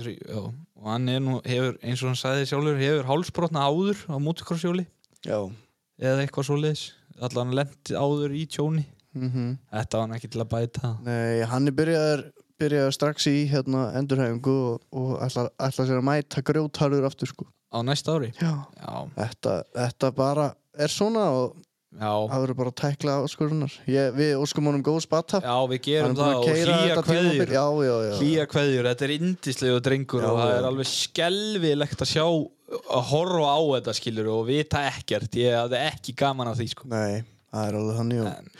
B: þrý, já. og hann er nú hefur, eins og hann sagði sjálfur hefur hálsbrotna áður á motocrossjóli
A: Já
B: eða eitthvað svo leiðis allan lendi áður í tjóni
A: mm
B: þetta var hann ekki til að bæta
A: Nei, hann er byrjaður, byrjaður strax í hérna, endurhæfingu og, og ætlar, ætlar sér að mæta grjótarður aftur sko.
B: á næsta ári
A: Já.
B: já,
A: Þetta, þetta bara er svona og
B: já,
A: það verður bara að tækla áskorunar. Ég, við óskum honum góðs bata.
B: já við
A: Hann er búinn
B: gerum það
A: að
B: og
A: keyra
B: hlýja
A: þetta tímabil.
B: kveðjur
A: Já, já, já.
B: hlýja kveðjur, þetta er indislegu drengur
A: Já,
B: og það
A: já.
B: er alveg skelvilegt að sjá að horfa á þetta skilur og vita ekkert, ég hafði ekki gaman af því sko.
A: Nei, það er alveg þannig.
B: En-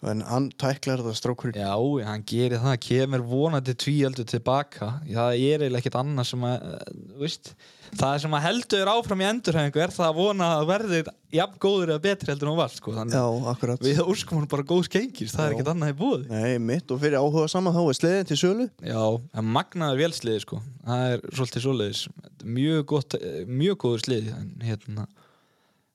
A: En, en hann tæklar þetta strókurinn.
B: já, hann gerir það, kemur vonandi tvíaldur tilbaka, það er eiginlega ekkert annað sem að, eh, þú veist það sem að heldur áfram í endurhengu er það að vona að verðið jafn góður eða betri heldur en hún var, sko, þannig
A: Já, akkurat.
B: Við óskum hann bara góðs gengis, það er
A: Já.
B: ekkert annað í búið
A: Nei, mitt og fyrir áhuga saman þá er sleðin til sölu.
B: Já, en magnaður vélsliði sko Það er svolítið svoleiðis Mjög, gott, eh, mjög góður sliði en, hérna,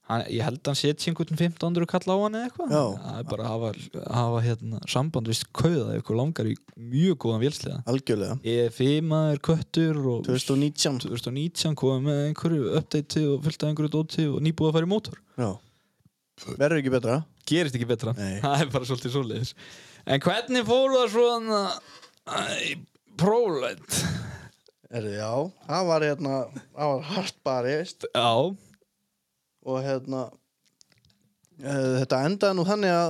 B: hann, Ég held að hann setja einhvern 1500 kall á hann eða eitthvað
A: Já.
B: Það er bara að hafa, hafa hérna, samband Vist kauða ykkur langar í mjög góðan vélsliða
A: Algjörlega.
B: E EFI-maður, köttur og
A: 2019.
B: 2019 komið með einhverju update og fullt af einhverju dóti og nýbúið að fara í mótor
A: Já. Verður ekki betra?
B: gerist ekki betra
A: Nei.
B: það er bara svolítið svoleiðis en hvernig fór það svona æ, prólætt
A: Er, já, það var hérna, það var hart barist.
B: já,
A: og hérna eh, þetta endaði nú þannig að,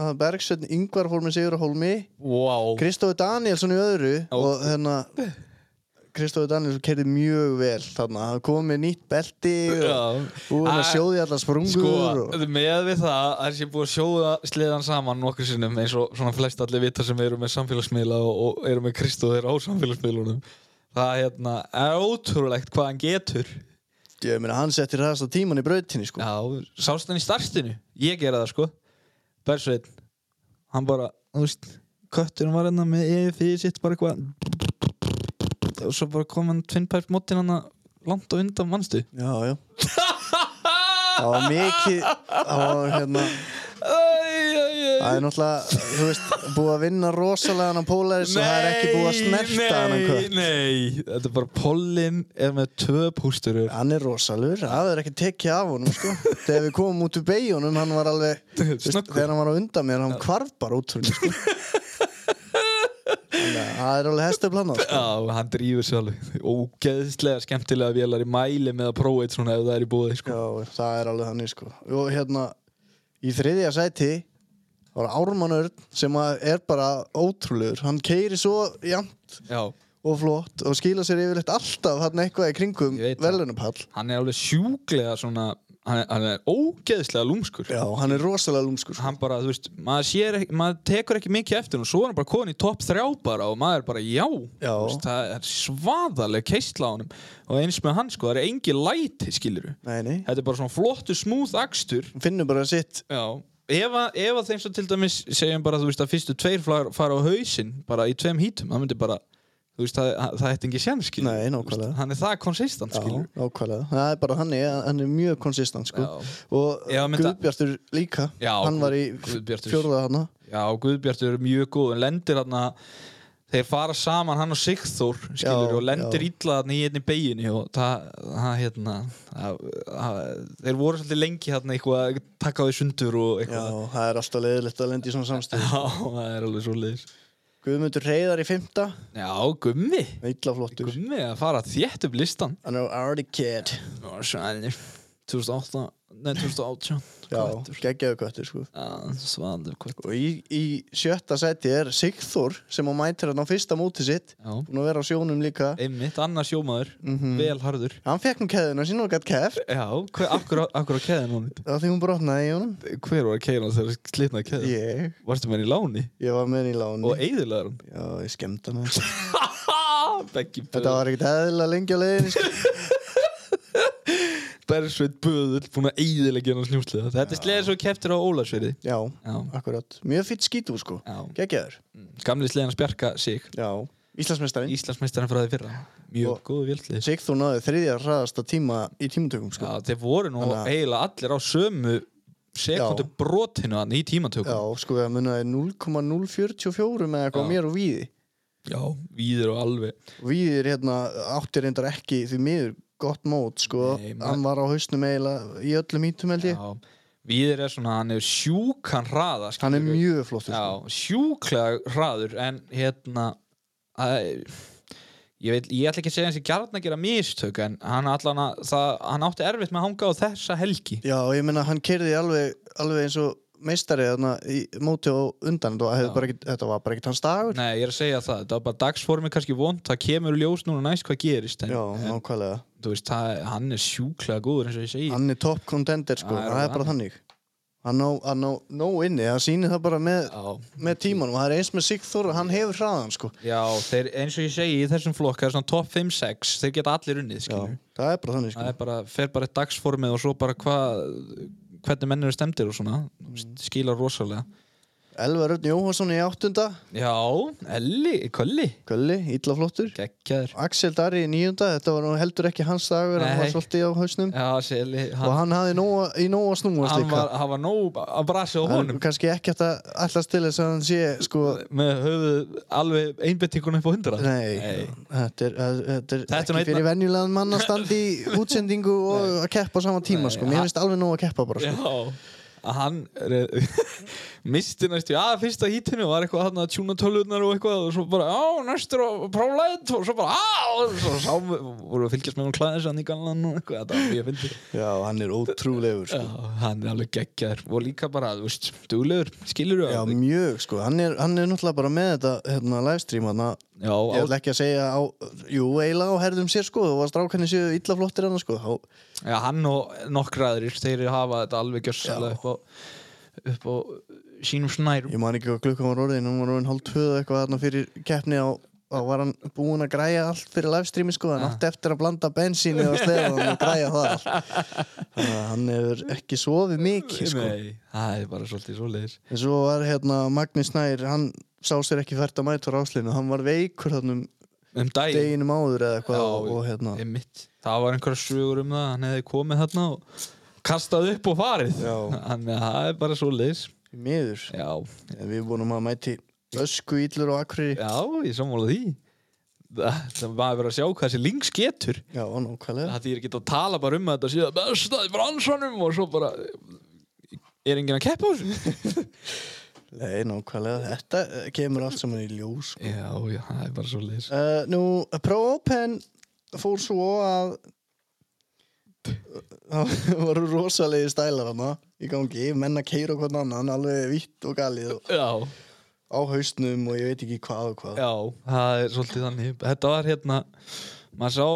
A: að Bergsveinn Ingvar fór með sigur á Holmi
B: wow
A: Kristófi Danielsson í öðru og hérna Kristófi Danielsson kerði mjög vel þarna, hann kom með nýtt belti og
B: já.
A: búin að
B: Æ,
A: sjóði allar sprungur
B: sko,
A: og,
B: með við það að þessi búið að sjóða sleðan saman nokkur sinnum eins og svona flest allir vita sem eru með samfélagsmiðla og, og eru með Kristóður á samfélagsmiðlunum það hérna, er ótrúlegt hvað hann getur
A: ég meina hann setti ræðasta tíman í brautinni sko.
B: já, sást hann í startinu ég gera það sko Bersveit, hann bara þú veist, kötturinn var hérna með EFI sitt bara eitthvað og svo bara kom hann tvinnpært mótin hann langt og undan mannstu
A: já, já það var mikið það var hérna Það er náttúrulega, þú veist, búið að vinna rosalega hann á Polaris og það er ekki búið að snerta hann hann
B: nei, nei, þetta er bara Pollin er með tvö pústurur
A: Hann er rosalur, það er ekki tekið af honum sko. Þegar við komum út úr beigunum hann var alveg, þú veist,
B: Snöggur.
A: þegar hann var á undan mér hann kvarf bara út úr henni sko. Þannig að Það er alveg hestu planað sko.
B: Já, hann drífur sér alveg Ógeðslega skemmtilega vélar í mæli með að prófa eitt svona ef það er í búið sko.
A: Já, það er alveg þannig sko. Og hérna, í þriðja sæti var Ármann Örn sem að er bara ótrúlegur hann keiri svo jæmt
B: Já,
A: og flott og skýla sér yfirleitt alltaf hann eitthvað í kringum
B: Ég veit það.
A: velunupall
B: hann er alveg sjúklega svona hann er, hann er ógeðslega lúmskur
A: Já, hann er rosalega lúmskur sko.
B: hann bara, þú veist, maður, sér, ekki- maður tekur ekki mikið eftir og svo er hann bara komin í topp þrjá bara og maður er bara, já,
A: Já.
B: Þú Veist, það er svaðaleg keistla á honum og eins með hann, sko, það er engi læti, skilur
A: Nei, nei,
B: þetta er bara svona flottu smúð akstur
A: hann finnur bara sitt
B: já, ef að, ef að þeim svo til dæmis segjum bara, þú veist, að fyrstu tveir fara, fara á hausinn bara í tveim hítum, það myndi bara þú veist, það, það ætti ekki séns skilur
A: Nei,
B: við.
A: nákvæmlega.
B: Þú veist, hann er það konsistant
A: Já,
B: skilur
A: nákvæmlega. Það er bara hann, er, hann er mjög konsistant sko.
B: Já.
A: Og
B: Já, mynda-
A: Guðbjartur líka,
B: Já,
A: hann var í
B: Guðbjartur.
A: fjórða hana.
B: Já, Guðbjartur er mjög góð en lendir hann þeir fara saman hann og Sigþór skilur,
A: Já,
B: og lendir
A: já.
B: illa hann í einni beginni og það, það hérna það, það, þeir voru svolítið lengi hérna eitthvað taka á því sundur og
A: Já,
B: eitthvað
A: það er alltaf leiðilegt að lenda í svona samstöð.
B: Já, það er alveg svo leiðis
A: Guðmundur reyðar í fymta,
B: Já, gummi
A: illa flottur.
B: Gummi að fara þétt upp listan
A: Hann er already kid.
B: Ó, Svanur 2008 Nei, 2018
A: Já,
B: Köttur.
A: geggjaðu köttur sko.
B: Já, Svanur hvað
A: Og í, í sjötta seti er Sigþór sem á mætir hann á fyrsta móti sitt.
B: Já,
A: Búin að vera á sjónum líka.
B: einmitt, annars sjómaður
A: Mhm.
B: Vel harður
A: Hann fekk nú keðuna sín og gætt keft.
B: Já, hver, akkur, akkur á keðan hún
A: Það var því hún brotnaði í honum.
B: Hver var keðan þegar slitnaði keðan?
A: Ég,
B: Varstu með henni í láni
A: ég var með henni í láni.
B: og e- eiðilaður hann?
A: Já, ég skemmta hann.
B: Beggi
A: Þetta
B: böðull
A: var ekkert eðla lengi á leiðinni sko.
B: Bersveit böðull búin að eiðilega hann snjúslega Þetta er sleðið svo keftir á Ólasverði
A: Já,
B: Já,
A: akkurat. Mjög fýtt skítur sko.
B: já
A: Geggjaður.
B: Mm. Gamli sleðan að spjarka sig
A: Já. Íslandsmeistarinn.
B: Íslandsmeistarinn frá því fyrra Mjög
A: Og-
B: góðu vjöldlið
A: Sigþór náði þriðja hraðasta tíma í tímatökum sko.
B: Já, þeir voru nú
A: Þannig að-
B: eiginlega allir á sömu sekundu brotinu hann í tímatökum
A: Já, sko, það munnaði 0,044 með
B: Já.
A: eitthvað mér og víði.
B: Já, víður og alveg
A: Víðir hérna átti reyndar ekki því miður gott mót sko
B: Nei, maður-
A: hann var á hausnum eiginlega í öllum ítum held ég
B: Já, víður er svona, hann er sjúkan hraða
A: hann er
B: skilurðu.
A: mjög flottur sko.
B: Já, sjúklega hraður en hérna að, ég, veit, ég ætla ekki að segja hans í gjarn að gera mistök en hann, allan að, það, hann átti erfitt með að hanga á þessa helgi
A: Já, og ég meina hann kerði alveg, alveg eins og meistari þarna í móti og undan og hefði
B: Já.
A: bara ekki, þetta var bara ekkert hans dagur
B: Nei, ég er að segja það, þetta var bara dagsformi kannski vond, það kemur í ljós núna næst hvað gerist en,
A: Já,
B: en
A: nákvæmlega
B: þú veist, það, hann er sjúklega góður eins og ég segi
A: Hann er top contender sko,
B: Já, er
A: það er
B: hann.
A: bara þannig Hann á, hann á nóg inni, það sýnir það bara með,
B: Já,
A: með tímanum og það er eins með Sigþór að hann hefur hraðan sko
B: já þeir, eins og ég segi í þessum flokka, svona top 5-6 þeir geta allir
A: Já,
B: unnið, skilur
A: það er bara þannig
B: það
A: sko
B: er bara, fer bara eitt dagsformið og svo bara hvað hvernig menn eru stemdir og svona mm. skila rosalega
A: Elvar Örn Jóhansson í áttunda,
B: Já, Elli, Kölli
A: Kölli, illa flottur
B: Gekkjaður
A: Axel Darri í nýjunda, þetta var nú heldur ekki hans dagur, hann var
B: Nei.
A: svolítið á hausnum
B: Já, Seli
A: og
B: Hann,
A: hann hafði nóa, í nóg að snúast
B: hann
A: líka.
B: var, hann var nóg að brasa á
A: Hann
B: honum
A: er kannski ekki hægt að allast til þess að hann sé, sko,
B: með höfuð alveg einbettinguna upp á hundra
A: nei, þetta er, að- þetta er
B: Þetta
A: ekki
B: er nú einn-
A: fyrir venjulegan mann að standa í útsendingu og að keppa á sama tíma,
B: Nei,
A: sko, mér
B: hann-
A: finnst alveg nóg að keppa bara, sko.
B: Já að hann er- misti næstu að fyrsta hítinu var eitthvað hann að tjúna tölunar og eitthvað og svo bara á næstur og próflæðið og svo bara á og svo sá voru að fylgjast með hún klæðis hann í gallan og eitthvað þetta var mjög fyndið
A: Já, hann er ótrúlegur, sko.
B: Já, hann er alveg geggjaður og líka bara, þú veist, duglegur, skilur
A: Já, mjög, sko, hann er, hann er náttúrulega bara með þetta, hérna, livestream, hann að, ég
B: já, á,
A: ætla ekki að segja á, jú, eiginlega á herðum sér, sko, þú varst rákanni séu illa flottir hann, sko, þá,
B: já, hann og nokkraðir þeir hafa þetta alveg gjössalega upp á, upp á sínum snærum
A: Ég man ekki hvað klukkan var orðin, hún var orðin hálf tvöðu eitthvað þarna fyrir keppni á og var hann búinn að græja allt fyrir livestreami sko, hann
B: Ah.
A: átti eftir að blanda bensíni og sleðan og græja það allt þannig að hann hefur ekki sofið mikið sko.
B: Nei, það er bara svolítið svoleiðis
A: en svo var hérna Magni Snær hann sá sér ekki fært að mæta ráslinu hann var veikur þannum
B: um daginn,
A: deginum áður eða eitthvað
B: Já,
A: og, og hérna
B: er mitt það var einhverja sögur um það, hann hefði komið þarna og kastað upp og farið
A: Já.
B: þannig að það er bara svoleiðis
A: í miður,
B: já,
A: en við vonum að mæti ösku íllur og akkurri já,
B: já, ég sammála því það, það var að vera að sjá hvað þessi links getur
A: nákvæmlega
B: Það þýr ekki að tala bara um að þetta síðan besta í bransanum og svo bara er enginn að keppa á þessu
A: Nei, nákvæmlega, þetta eh, kemur allt saman í ljós
B: Já, já, það er bara svo leiðis
A: Uh, nú, Pro Open fór svo að það voru rosalegi stælar hana í gangi, menn að keira hvern annan alveg vitt og galið og
B: Já,
A: á hausnum og ég veit ekki hvað og hvað
B: já, það er svolítið þannig Þetta var hérna maður sá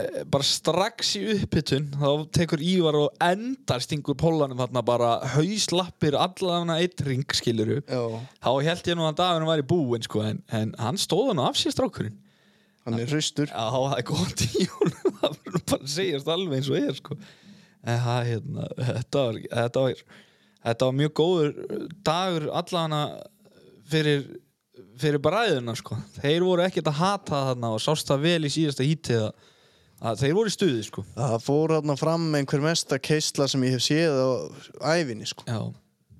B: eh, bara strax í upphittun þá tekur Ívar og endar stingur pollanum þarna bara hauslappir allavega eitt ring skiluru
A: Já,
B: þá held ég nú að dagurinn var í búin sko, en, en hann stóða nú af sér strákurinn
A: hann er hraustur
B: Já, það er gott í honum það verður nú bara að segjast alveg eins og er sko. en það, hérna, þetta var þetta var, þetta var mjög góður dagur allana fyrir fyrir bræðuna sko. þeir voru ekkert að hata þarna og sást það vel í síðasta hítið að, að þeir voru í stuði sko.
A: Það fór þarna fram einhver mesta keisla sem ég hef séð á ævinni sko.
B: Já,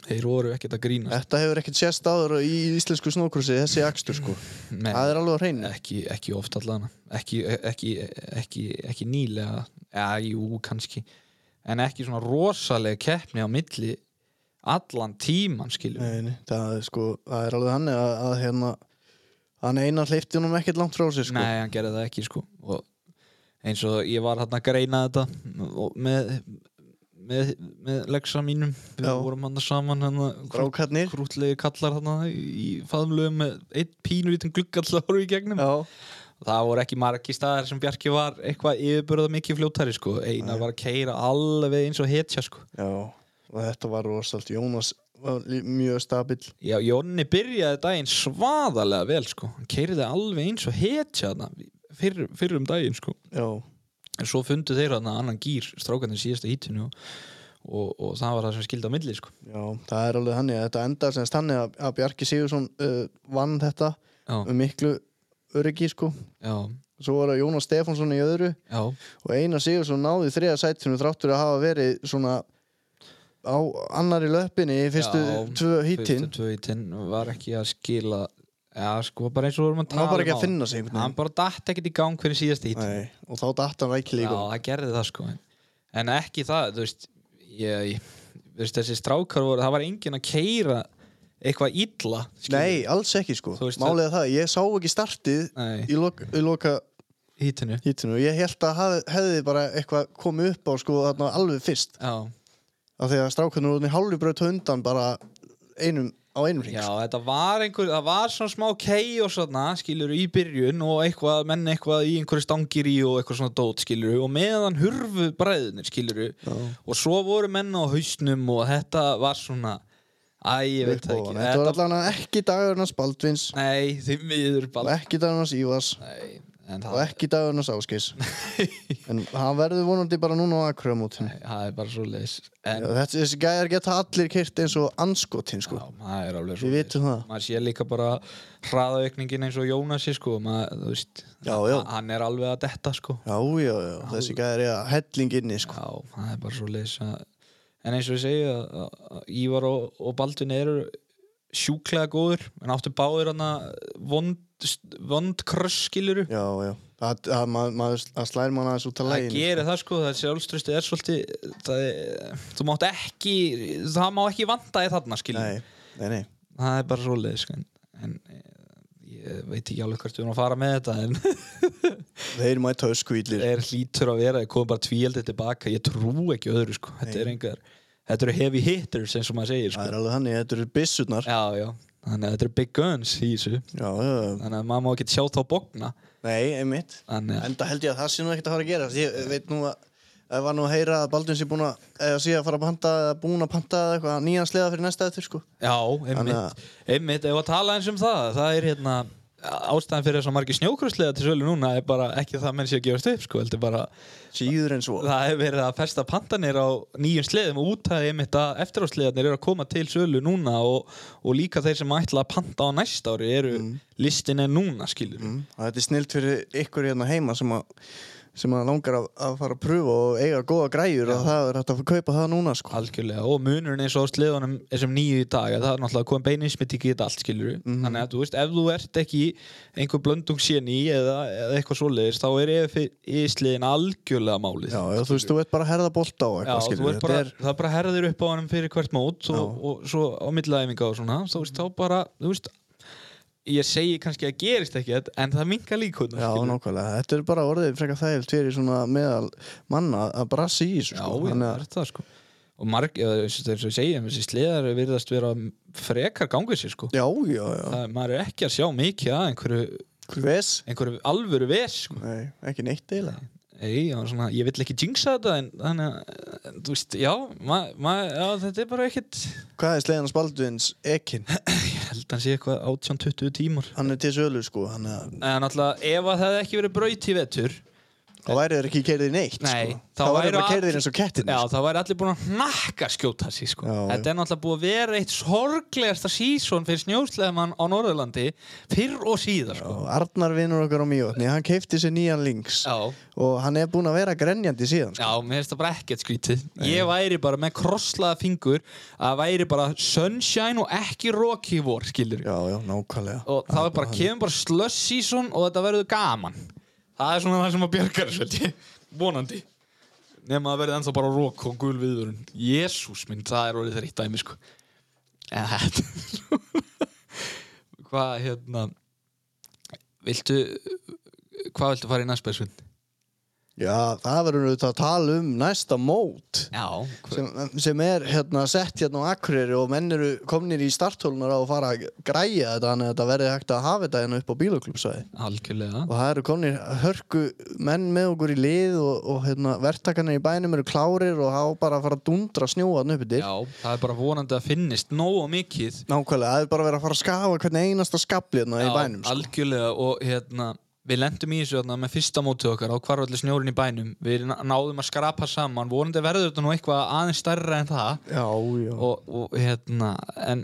B: þeir voru ekkert að grína
A: Þetta hefur ekkert sést áður í íslensku snókursi þessi akstur sko. Það er alveg á hreinu.
B: ekki, ekki oft allan ekki, ekki, ekki, ekki nýlega já, jú, kannski en ekki svona rosalega keppni á milli allan tíman skilur
A: Nei, nei, það er sko, það er alveg þannig að, að hérna, hann einar hleypti honum ekkert langt frá sér sko.
B: Nei, hann gerði það ekki sko og eins og ég var hann að greina þetta og með með, með leggsa mínum við
A: Já.
B: vorum hann saman hann
A: Brákarnir.
B: krútlegi kallar hann í faðumlöfum með einn pínur í þinn glugg alltaf voru í gegnum
A: Já,
B: það voru ekki margi staðar sem Bjarki var eitthvað yfirburða mikið fljótari sko einar var að keira alveg eins og hetja sko
A: já, og þetta var rosalt. Jónas var lí- mjög stabil.
B: já, Jónni byrjaði daginn svaðalega vel sko hann keiriði alveg eins og hetja þarna fyrr, fyrr um daginn sko
A: Já,
B: en svo fundu þeir þarna annan gýr strákarnir síðasta hítinu og, og, og það var það sem skildi á milli sko
A: já, það er alveg þannig að þetta endar semst þannig að, að Bjarki Sigursson uh, vann þetta
B: já,
A: með miklu öryggi sko.
B: já,
A: Svo var það Jónas Stefánsson í öðru
B: já,
A: og Einar Sigursson náði þriða sætinu þráttur að hafa verið svona á annari löppinni í fyrstu
B: Já,
A: tvö hítinn.
B: fyrstu tvö hítin var ekki að skila já sko bara eins og vorum að
A: Hann
B: tala
A: var bara ekki
B: um
A: að finna sig einhvern
B: áðan. hann bara datt ekkert í gang fyrir síðasta hítin
A: Nei, og þá datt hann rækilega í
B: Já,
A: góð.
B: það gerði það sko en- En ekki það, þú veist ég, ég, þú veist, Þessi strákar voru, það var enginn að keira eitthvað illa skilur.
A: Nei, alls ekki sko.
B: Þú veist
A: Málið er það, ég sá ekki startið
B: Nei,
A: í, lok, í loka
B: hítinu
A: hítinu. Ég held að hafði, hefði bara eitthvað komið upp á sko þarna alveg fyrst.
B: Já,
A: Af því að strákunnur voru hálfur bröðt undan bara einum, á einum ring.
B: já
A: sko.
B: þetta var einhver Það var svona smá kei og svona skilur í byrjun og eitthvað menn eitthvað í einhverju stangir í og eitthvað svona dót skilur og meðan hurfu bræðunir skilur
A: Já.
B: og svo voru menn á hausnum og þetta var svona Æ, ég veit það
A: Uppáðan.
B: ekki
A: Þetta var allan ekki dagurnas Baldvins
B: Nei, því miður
A: og
B: bara
A: ekki dagurnas Ívars
B: Nei, en
A: og
B: það
A: ekki dagurnas Áskis. en hann verður vonandi bara núna á Akramótinu.
B: Nei, það er bara svo leiðis en
A: Þessi gæjar geta allir kyrt eins og anskotin sko.
B: já, það er alveg svo
A: Við vitum það.
B: maður sé líka bara hraðaukningin eins og Jónasi sko maður, þú veist,
A: Já, já.
B: h- hann er alveg að detta sko
A: Já, já, já, þessi gæðir er að helling inni sko.
B: já, það er bara svo leiðis en eins og ég segi að- að- að Ívar og, og Baldvin eru sjúklega góður en áttu báðir hann að vond, vond kröss skiluru
A: Já, já, það, það, maður, maður, það slær mann aðeins út af
B: það
A: lægin
B: gerir það sko, það er sjálfströsti er svolítið, það er, þú mátt ekki það má ekki vanda í þarna skilur
A: Nei, nei, nei
B: það er bara svoleiðis en, en eh, ég veit ekki alveg hvert við erum að fara með þetta en
A: Þeir mæta öskvílir
B: er hlýtur að vera ég kom bara tvíaldið tilbaka, ég trú ekki öðru sko. þetta er engar, þetta eru heavy hitters eins og maður segir
A: Það
B: sko.
A: er alveg þannig, þetta eru byssurnar Já,
B: já, já. þannig að þetta eru big guns í þessu
A: já, já,
B: þannig að maður má ekki sjá þá bókna
A: nei, einmitt
B: þannig að
A: Enda held ég að það sé nú ekkert að fara að gera Ég veit nú að Það var nú að heyra að Baldvin sé búin að eða sé að fara að panta eða búin að panta eða eitthvað nýjan sleða fyrir næsta eftir sko
B: já,
A: Þannig að-
B: einmitt, einmitt ef að tala eins um það, það er hérna ástæðan fyrir þess að margir snjókruslega til sölu núna er bara ekki það að menn sé að gefast upp sko, heldur bara
A: Síður en svo
B: Það hefur verið að festa pandanir á nýjum sleðum og út að einmitt að eftirásleðarnir eru að koma til sölu núna og, og líka þeir sem ætla að panta á næsta ári eru listin er núna skilur mm.
A: Mm, og Þetta er snilt fyrir ykkur hérna heima sem að sem að langar að, að fara að pröfa og eiga góða græjur og það er hægt að kaupa það núna sko
B: algjörlega og munurinn eins og á sleðunum þessum nýju í dag að það er náttúrulega komið beininsmitt í geta allt skilur
A: Mm.
B: þannig að þú veist ef þú ert ekki einhver blöndung síðan í eða, eða eitthvað svoleiðis þá er yfirsliðin algjörlega málið
A: Já, já, þú veist, þú ert bara að herða bolta á
B: Já,
A: eitthvað,
B: þú
A: skilur
B: ert bara, það er bara herðir upp á hann fyrir hvert mót og, og svo á millæfinga og svona þá veist, þá bara, þú veist ég segi kannski að gerist ekkert en það minga líkunar
A: Já, nákvæmlega, þetta er bara orðið frekar þægilt fyrir svona meðal manna að brasi í þessu
B: já,
A: sko.
B: já,
A: Þannig
B: það er það sko og marg, eða, eins og eins og ég segi þessi sleðar virðast vera frekar gangið sér sko
A: já, já, já,
B: það, maður er ekki að sjá mikið að einhverju,
A: hvers?
B: einhverju alvöru ves sko.
A: Nei, ekki neitt eiginlega
B: Ei, já, svona, ég vill ekki jinxa þetta en þannig að, en, þú veist, já, ma, ma, já þetta er bara ekkert
A: Hvað er sleiðan spaldvins ekin?
B: ég held að hann sé eitthvað 18-20 tímar
A: Hann er til sölu sko, hann er
B: En alltaf ef að það hefði ekki verið braut í vetur
A: þá væri þeir ekki keirðið neitt
B: Nei,
A: sko.
B: þá
A: þá væri
B: væru
A: þeir bara
B: allir-
A: keirðið eins og sko. kettin
B: Já, það væri allir búin að hnakka skjóta sér sko.
A: Já, já.
B: Þetta er náttúrulega búið að vera eitt sorglegasta sísón fyrir snjósleðmann á Norðurlandi fyrr og síðar sko.
A: og Arnar vinnur okkar á mjög hann keipti sér nýjan links
B: Já,
A: og hann er búinn að vera grenjandi síðan sko.
B: já, mér finnst það bara ekkert skrítið Ég væri bara með krosslaða fingur að væri bara sunshine og ekki rocky vor, skilur
A: já, já, nákvæmlega
B: og það er bara, kemur bara slush season og þetta verður gaman Það er svona það sem að bjargar þessu held ég, vonandi Nefn að það verði ennþá bara rock og gul viðurinn Jésús minn, það er orðið þreytt dæmi sko En þetta er svona- Hvað hérna Viltu Hvað viltu fara í næst bæsvinn?
A: já, það verður auðvitað að tala um næsta mót
B: Já
A: sem, sem er hérna sett hérna á Akureyri og menn eru komnir í starthólunar á að fara að græja þetta þannig að þetta verði hægt að hafa þetta hérna upp á bíloklubbsvæði
B: Algjörlega
A: og það eru komnir hörku menn með okkur í lið og, og hérna, verktakarnir í bænum eru klárir og hafa bara að fara að dundra snjóaðn uppi til
B: Já, það er bara vonandi að finnist nógu mikið
A: nákvæmlega, það er bara að vera að fara að skafa hvernig einasta skafli hérna í bænum sko.
B: algjörlega og hérna við lendum í þessu hérna, með fyrsta mótið okkar á hvarfalli snjórin í bænum við ná- náðum að skrapa saman vonandi verður þetta nú eitthvað aðeins stærra en það
A: já, já
B: og, og hérna en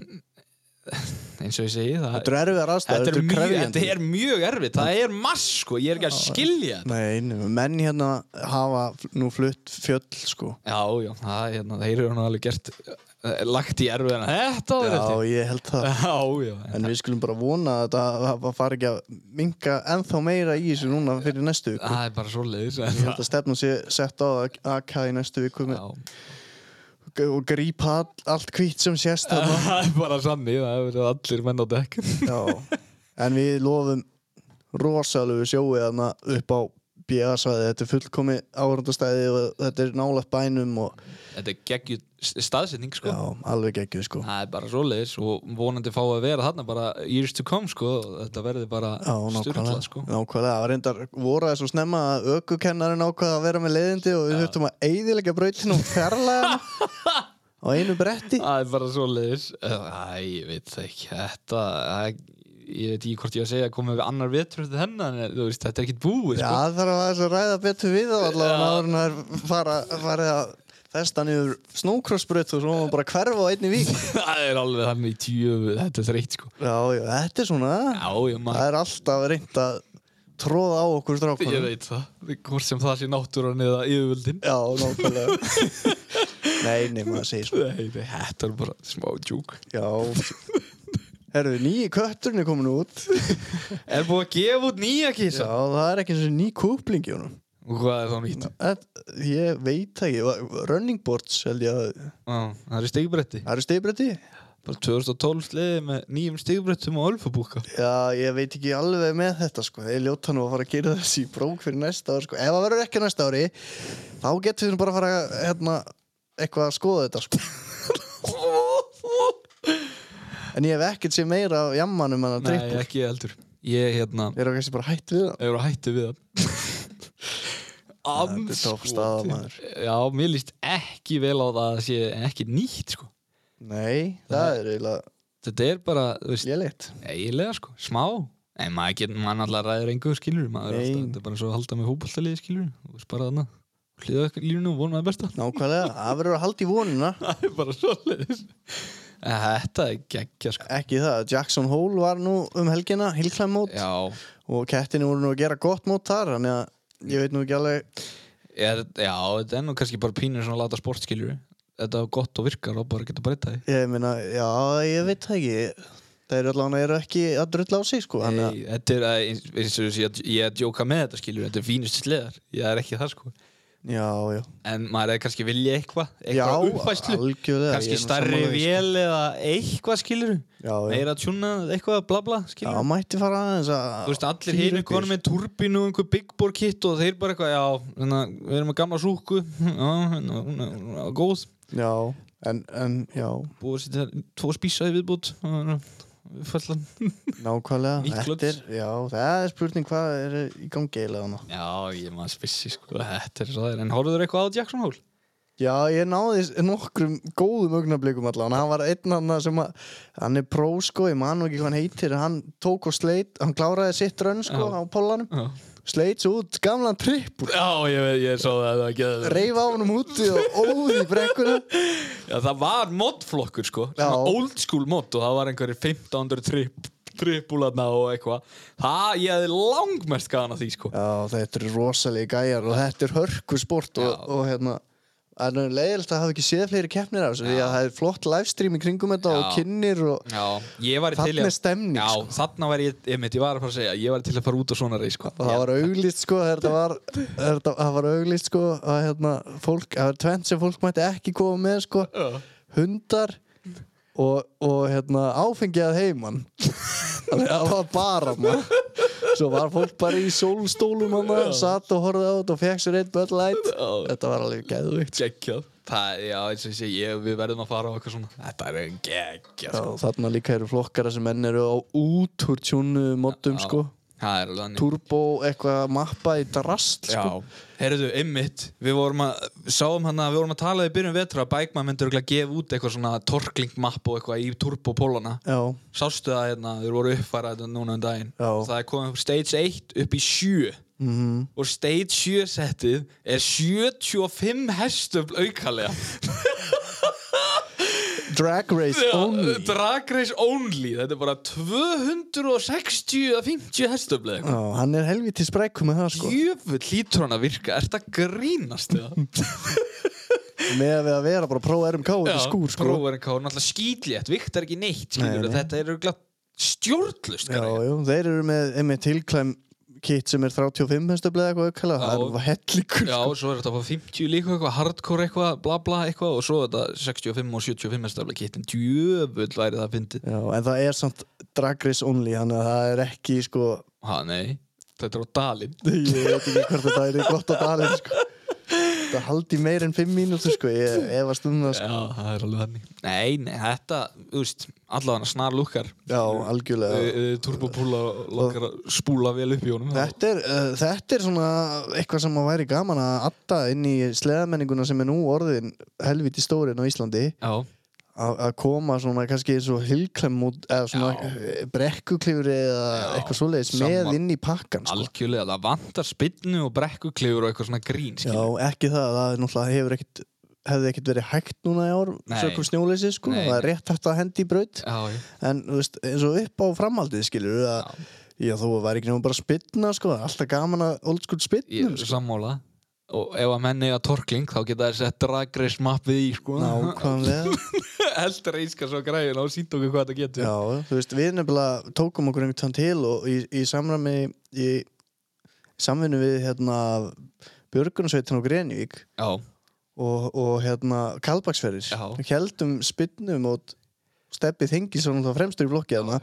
B: eins og ég segi það
A: Þetta eru erfiðar aðstæður,
B: þetta er, mjög,
A: krefjandi.
B: þetta er mjög erfitt það er mass sko, ég er ekki að skilja þetta
A: Nei, nei, menn hérna hafa fl- nú flutt fjöll sko
B: já, já, það er hérna, þeir eru nú alveg gert eh, lagt í erfið þetta
A: Já,
B: var þetta
A: ég held það
B: já, já, en
A: En við skulum bara vona að þetta fara ekki að minka ennþá meira í þessu núna fyrir næstu viku
B: það er bara svo leiðis
A: Ég held að stefnum sé sett á að AK í næstu viku með,
B: já,
A: og grípa all, allt hvít sem sést þarna
B: það er bara sannig það er allir menn á dekk
A: Já, en við lofum rosalegu sjóið þarna upp á BA-svæði Þetta er fullkomi áhörndastæði og þetta er nálægt bænum og
B: Þetta er geggjur staðsetning sko
A: já, alveg geggjuð sko
B: Það er bara svoleiðis og vonandi fá að vera þarna bara years to come sko og Þetta verði bara
A: Já, nákvæmlega,
B: styrklað sko
A: nákvæmlega, það var reyndar voru það svo snemma að ökukennarinn ákvaða að vera með leiðindi og við þurftum að eyðilega brautin og fjarlæðan á einu bretti
B: Það er bara svoleiðis Æ, ég veit það ekki Þetta, æ, ég veit ekki hvort ég að segja að koma við annar vetur til hennan en, þú veist, Þetta er ekkit búið
A: Já,
B: sko
A: það þarf að aðeins að ræða betur við þá allavega áður en það er fara, farið að festa niður snókrossbrut og svo má bara hverfa á einni vík
B: Það er alveg þannig í tjöfu Þetta er þreitt sko
A: Já, já, þetta er svona
B: Já, ég maður
A: það er alltaf reynd að tróða á okkur
B: Ég
A: strákunum
B: veit það, hvort sem það sé náttúran eða yfirvöldin
A: Já, nákvæmlega Nei, nei, maður segir svo
B: Nei, nei, þetta er bara smá djúk
A: Já Herðu, nýji kötturinn er komin út
B: Er búið að gefa út nýja
A: Já,
B: kísa?
A: það er ekki eins og ný kúpling í honum.
B: Og hvað er þá nýtt?
A: Það- Ég veit það ekki, va- running boards held ég að...
B: Já, það eru stigbretti
A: Það eru stegbretti?
B: Bara 2012 sliði með nýjum stigbrettum og ölfabúka
A: Já, ég veit ekki alveg með þetta sko. Ég ljóta nú að fara að gera þessi brók fyrir næsta ár sko. Ef það verður ekki næsta ári, þá getum við bara að fara að, hérna, eitthvað að skoða þetta sko. En ég hef ekkert sér meira af jammanum en að
B: Nei,
A: drippur.
B: ekki heldur Ég hérna,
A: Ég er kannski bara hætt við það.
B: ég voru hætti við það um
A: Þetta er tók staða maður.
B: Já, mér líst ekki vel á það að sé ekki nýtt sko
A: Nei, það er eiginlega
B: Þetta er bara, þú veist,
A: léleitt.
B: eiginlega sko, smá En maður getur, maður alltaf ræður engu skilur Maður er
A: Nei.
B: alltaf, þetta er bara svo að halda með hópaltalið skilur Þú veist bara þarna Hlýða ykkur lífinu og vonum að besta
A: Nákvæmlega, það verður að halda í vonina.
B: Það er bara svo leiðis Þetta er geggja sko
A: Ekki það, Jackson Hole var nú um helgina, hillklæmmót
B: Já,
A: og kettinni voru nú að gera gott mót þar þannig að ég veit nú ekki alveg
B: er, já, þetta er nú kannski bara pínur svona láta sportskiljur þetta er gott og virkar og bara geta breyta því
A: ég meina, já, ég veit það ekki það eru allavega eru ekki að drulla á sig sko, þannig að
B: Nei, þetta er að- eins eins og þessi, ég- ég er að djóka með þetta skiljur þetta er fínust sleðar, ég er ekki það sko
A: já, já,
B: en maður er kannski að vilja eitthvað eitthvað
A: já,
B: uppfæslu,
A: algjörlega ég
B: kannski
A: er nú
B: starri
A: sammála því, sko.
B: vél eða eitthvað skiljur
A: já, já,
B: meira að tjúna eitthvað bla bla
A: já,
B: skiljur
A: mætti fara aðeins að
B: Þú veist, allir
A: Týra
B: hinu
A: upp í
B: konum með turbinu og einhver big bore kit og þeir bara eitthvað, já, hérna, við erum með gamla súku, já, hérna, hún er- hún er góð,
A: þessu. já, en, en, já,
B: búið að setja tvo spísa í viðbútt fallan
A: nákvæmlega
B: Nýtt
A: þetta er, já, það er spurning hvað er í gangi eiginlega þarna
B: já ég maður spissi sko þetta er svo það er en horfður eitthvað á Jackson Hole
A: Já, ég náði nokkrum góðum augnablikum allan Hann var einn hann sem að Hann er pró sko, ég man nú ekki hvað hann heitir en Hann tók og sleit, hann kláraði sitt rönn sko
B: Já.
A: á pollanum
B: Já,
A: Sleit svo út, gamlan trippur
B: ég, veit- ég svo það, það var geðveikt.
A: Reif á honum úti og óði í brekkuna
B: Já, það var modflokkur sko
A: Já.
B: Svona old school mod og það var einhverjir 1500 trip, tripularna og eitthvað Það, ég hefði langmest gaman að því sko
A: Já, þetta eru rosalegi gæjar og þetta er hörku sport og,
B: Já.
A: og hérna Það er leiðilegt að hafa ekki séð fleiri keppnir af þessu því að það er flott livestream í kringum þetta og
B: Já.
A: kynnir og
B: Já, ég var í
A: Þarna
B: til í að-
A: er stemning,
B: Já,
A: sko.
B: þarna var ég, ég ég var að fara að segja Ég var til að fara út á svona reis sko
A: og það var auglýst sko þetta var, þetta, það var auglýst sko að hérna, fólk, það var tvent sem fólk mætti ekki koma með sko
B: Já.
A: hundar og, og hérna, áfengi að heiman þannig að það var bara maður svo var fólk bara í sólstólum maður, satt og horfði á þetta og fekk sér einn Bud Light
B: Já.
A: þetta var alveg sko. geðvikt
B: Gekkjað Það, já, eins og ég segi, ég- við verðum að fara á eitthvað svona Þetta er geggjað
A: Já,
B: sko
A: þarna líka eru flokkara sem menn eru á út úr tjónu moddum
B: Já,
A: sko
B: Það er alveg þannig
A: turbo eitthvað mappa í drast sko
B: Já, heyrðu, ymmit Við vorum að, sáum hann að við vorum að tala í byrjun vetra að Bækman myndur örugglega að gefa út eitthvað svona torklingmapp og eitthvað í turbopólana
A: Já.
B: Sástu það hérna, þeir voru uppfæra þetta núna um daginn
A: Já.
B: Það er komið upp stage 1 upp í 7
A: Mhm.
B: og stage 7 settið er 75 hestum aukalega
A: drag race only
B: Drag race only Þetta er bara 260 að 50 hestum
A: Já, hann er helviti sprækku með það sko
B: Jöfull hlýtur hann að virka, ert að grínast það?
A: með að við að vera bara pró-RMK út í skúr sko
B: Próverinn Káur, náttúrulega skýtlétt, viktar ekki neitt skilur,
A: Nei, nei.
B: þetta er auðvitað stjórnlust
A: Já, já, þeir eru með einmitt tilklæm kit sem er 35 hestableið eitthvað aukala það
B: Já.
A: er sko. hellikur
B: já, og svo er þetta bara 50 líka eitthvað, hardcore eitthvað, bla bla eitthvað og svo þetta 65 og 75 hestafla kittin, djöfull væri það að fyndi
A: Já, en það er samt drag race only þannig að það er ekki sko
B: Ha, nei, þetta er á dalinn
A: ég veit ekki hvort þetta er gott að dalinn sko það haldi meir en 5 mínútur sko ég efast um það sko
B: Já, það er alveg þannig Nei, nei, þetta, þú veist, allavega snar lukkar
A: Já, algjörlega
B: Turbopúla lukkar að spúla vel upp í honum
A: Þetta er, uh, þetta er svona eitthvað sem að væri gaman að atta inn í sleðamenninguna sem er nú orðin helviti stórin á Íslandi
B: Já,
A: að að koma svona kannski eins og hilklem út, eða svona Já. brekkuklifri eða
B: Já,
A: eitthvað svoleiðis
B: sammála.
A: með inn í pakkan sko.
B: algjörlega, það vantar spinnu og brekkukleifur og eitthvað svona grín
A: Já,
B: skilur.
A: ekki það, það er náttúrulega hefur ekkit hefði ekkit verið hægt núna í ár
B: Nei.
A: sökum snjóleysi sko,
B: Nei,
A: það er rétt hægt að hendi í braut
B: Já, já
A: en þú veist, eins og upp á framhaldið skilur að Já, þú væri ekki nefnum bara að spinna, sko, það er alltaf gaman að old school sko.
B: Ég
A: spinnum,
B: er sammála og ef að menn eiga torkling þá geta þær sett drag race mappið í sko
A: Nákvæmlega
B: Eldur reyska svo græðin og sínt okkur hvað þetta getur
A: Já, þú veist, við nefnilega tókum okkur einhvern tann til og í, í samræmi í samvinnu við hérna Björgunarsveitin og Grenvík
B: já,
A: og, og hérna Kalbaksferðir
B: Já.
A: heldum spinnum og Steppi Þengilsson þá fremstur í blokki hérna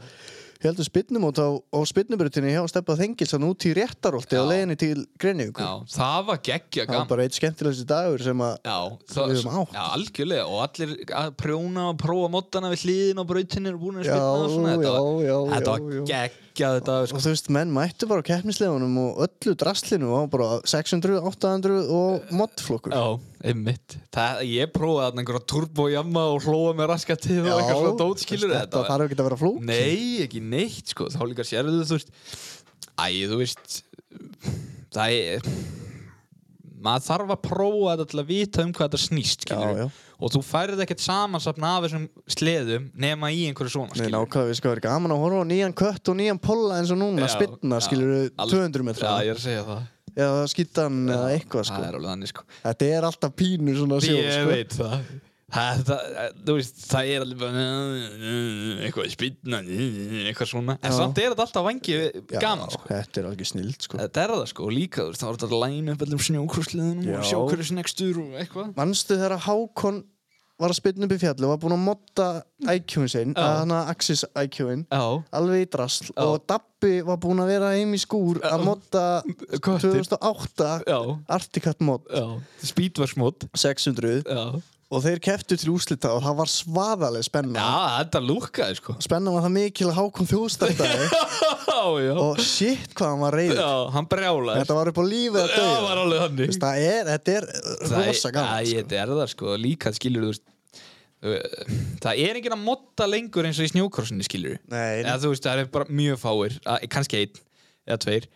A: heldum spinnum út á, á spinnubrutinni hjá Steppa Þengilsson út í réttarólti á
B: Já.
A: leiðinni til Grenvík
B: já, það var
A: það
B: geggja
A: var
B: gaman
A: bara eitt skemmtilegsti dagur sem að
B: Já,
A: Við höfum átt.
B: já, algjörlega og allir að prjóna og prófa mottana við hliðin og brautinir og búin að
A: Já,
B: spilna og svona þetta var,
A: já, já,
B: þetta
A: já,
B: var
A: já.
B: geggjað þetta sko.
A: og þú veist, menn mættu bara á keppnislegunum og öllu drastlinu og bara 600, 800 og modflokkur
B: Já, einmitt það, Ég prófaði þarna einhverja turbojamma og hlóa með raskatið og eitthvað svona dótskilur
A: þetta þarf ekki að vera flók
B: Nei, ekki neitt sko Þá líka sérðu þú veist Æ, þú veist Það er maður þarf að prófa þetta til að vita um hvað þetta snýst skilurðu.
A: Já, já.
B: og þú færið ekkert samansapna af þessum sleðum nema í einhverju svona
A: Nei,
B: skilurðu.
A: nákvæmlega, sko, það er gaman að horfa á nýjan kött og nýjan polla eins og núna,
B: Já,
A: spilna,
B: já,
A: skilur
B: alveg.
A: 200 metra,
B: Já, ég er að segja það
A: eða skittan eða eitthvað, sko.
B: Það er alveg þannig sko
A: Þetta er alltaf pínu svona sjó,
B: Ég
A: sko.
B: veit það Það, það, þú veist, það er alveg bara eitthvað spilna eitthvað svona, en
A: Já.
B: samt er þetta alltaf vangi
A: Já,
B: gaman sko.
A: Þetta er alveg snild, sko.
B: Þetta er það sko, og líka þú veist, þá er þetta að læna upp öllum snjókursliðunum og
A: Já.
B: sjá hverju snekstur og eitthvað
A: Manstu þegar Hákon var að spilna upp í fjallu og var búinn að modda IQ-in sinn,
B: Já.
A: að hann að Axis IQ-in,
B: Já,
A: alveg í drasl og Dabbi var búinn að vera heim í skúr að modda
B: Köttinn.
A: 2008
B: já,
A: Articat mod
B: já Speedverse mod
A: 600
B: Já,
A: og þeir keftu til úslita og það var svaðaleg spenna
B: þetta lúkkaði sko
A: spenna var það mikil að hákum þjóðstættaði
B: Já, já,
A: og shit hvað hann var reyður
B: já hann brjálaði
A: þetta var upp á lífið að
B: Já, það var
A: döða
B: alveg þannig
A: það er, þetta er rosa
B: Æ,
A: gaman sko.
B: þetta er það sko, líka skilur þú veist uh, Það er enginn að modda lengur eins og í snjókrossinni skilur
A: Nei,
B: Eða þú veist, það er bara mjög fáir að- Kannski einn eða tveir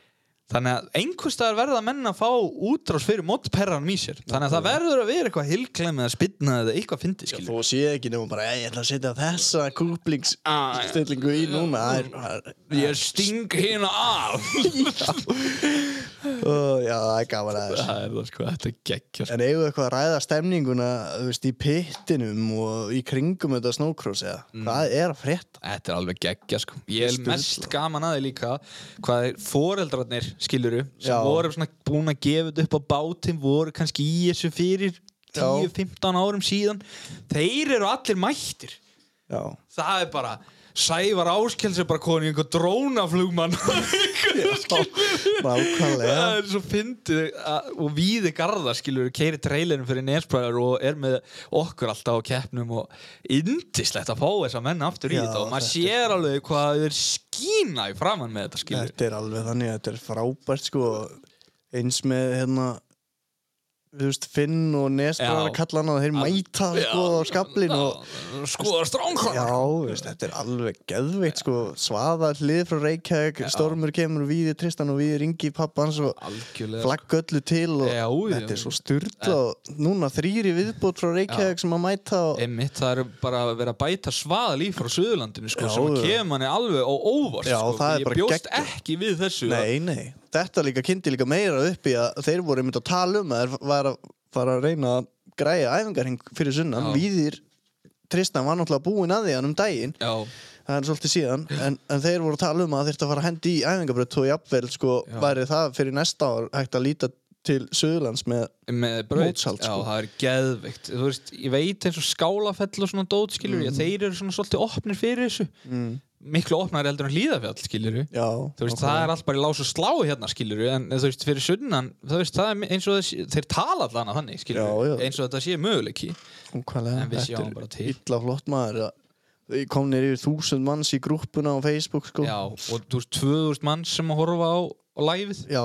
B: Þannig að einhvers staðar verða menn að fá útrás fyrir moddperranum í sér Þannig að það verður að vera eitthvað hilklem eða spilna eða eitthvað fyndi skilur
A: þú sé ekki nefnum bara "Ei, ég ætla að setja þessa kúplingstillingu í núna það er,
B: Ég sting hérna af
A: ó, já, það er gaman að þessu
B: Það er það sko, þetta er geggjast
A: en eigum við eitthvað að ræða stemninguna þú veist, í pittinum og í kringum þetta snókrós eða
B: Mm.
A: hvað er að frétta
B: Þetta er alveg geggja sko Ég er
A: Sturla.
B: mest gaman aðeins líka hvað er foreldrarnir skiluru sem
A: Já.
B: voru svona búin að gefa þetta upp á bátinn voru kannski í þessu fyrir
A: Já.
B: 10-15 árum síðan Þeir eru allir mættir
A: já,
B: Það er bara Sævar Áskels er bara komin í einhver drónaflugmann
A: nákvæmlega
B: Það er svo fyndið að- og víði garða skilur keiri trailerin fyrir nesbræðar og er með okkur alltaf á keppnum og indislegt að fá þess að menna aftur í
A: Já,
B: þetta og maður
A: þetta
B: sér alveg hvað þau er skína í framann með þetta skilur
A: Þetta er alveg þannig, þetta er frábært sko eins með hérna þú veist, Finn og Nesbrar
B: Já.
A: kalla hann og þeir mæta sko á skablin og
B: skoða
A: já,
B: stránkona
A: þú veist, þetta er alveg geðveikt sko, svaða hlið frá Reykjavík Stormur kemur og Víði Tristan og Víði ringi í pappans og
B: algjörlega
A: flagg öllu til og
B: Já, já.
A: þetta er svo styrla og núna þrýri viðbútt frá Reykjavík sem að mæta og
B: Einmitt, það eru bara að vera að bæta svaðal í frá Suðurlandinu
A: Já,
B: sko, sem að
A: já.
B: kemur manni alveg á óvart
A: Já,
B: sko.
A: það er
B: ég
A: bara
B: bjóst
A: geggjað.
B: ekki við þessu
A: Nei, nei, þetta líka kynnti líka meira upp í að þeir voru einmitt að tala um að þeir var að fara að reyna að græja æfingarhing fyrir sunnan,
B: Já.
A: víðir Tristan var náttúrulega búinn að því hann um daginn
B: Já,
A: það er svolítið síðan, en, en þeir voru að tala um að þeir þurfti að fara að hendi í æfingabröð og jafnvel sko
B: Já.
A: væri það fyrir næsta ár hægt að líta til Suðurlands með
B: með braut
A: Mótsald, sko.
B: já, það er geðveikt þú veist, ég veit eins og skálafell og svona dót skilur, mm. þeir eru svona svolítið opnir fyrir þessu
A: mm,
B: miklu opnar heldur en hlýðafjall skilur
A: Já,
B: þú veist, það
A: nákvæmlega.
B: er allt bara í lás og slá hérna skilur en þú veist, fyrir sunnan þú veist, það er eins og þessi, þeir tala allan að þannig skilur,
A: Já, já.
B: eins og þetta sé möguleiki
A: Ókvæmlega,
B: En við sjáum
A: þetta
B: bara
A: er
B: til.
A: illa flott maður að þau komnir yfir þúsund manns í grúppuna á Facebook sko
B: já, og þú veist, 2000 mann sem að horfa á, á liveið
A: Já,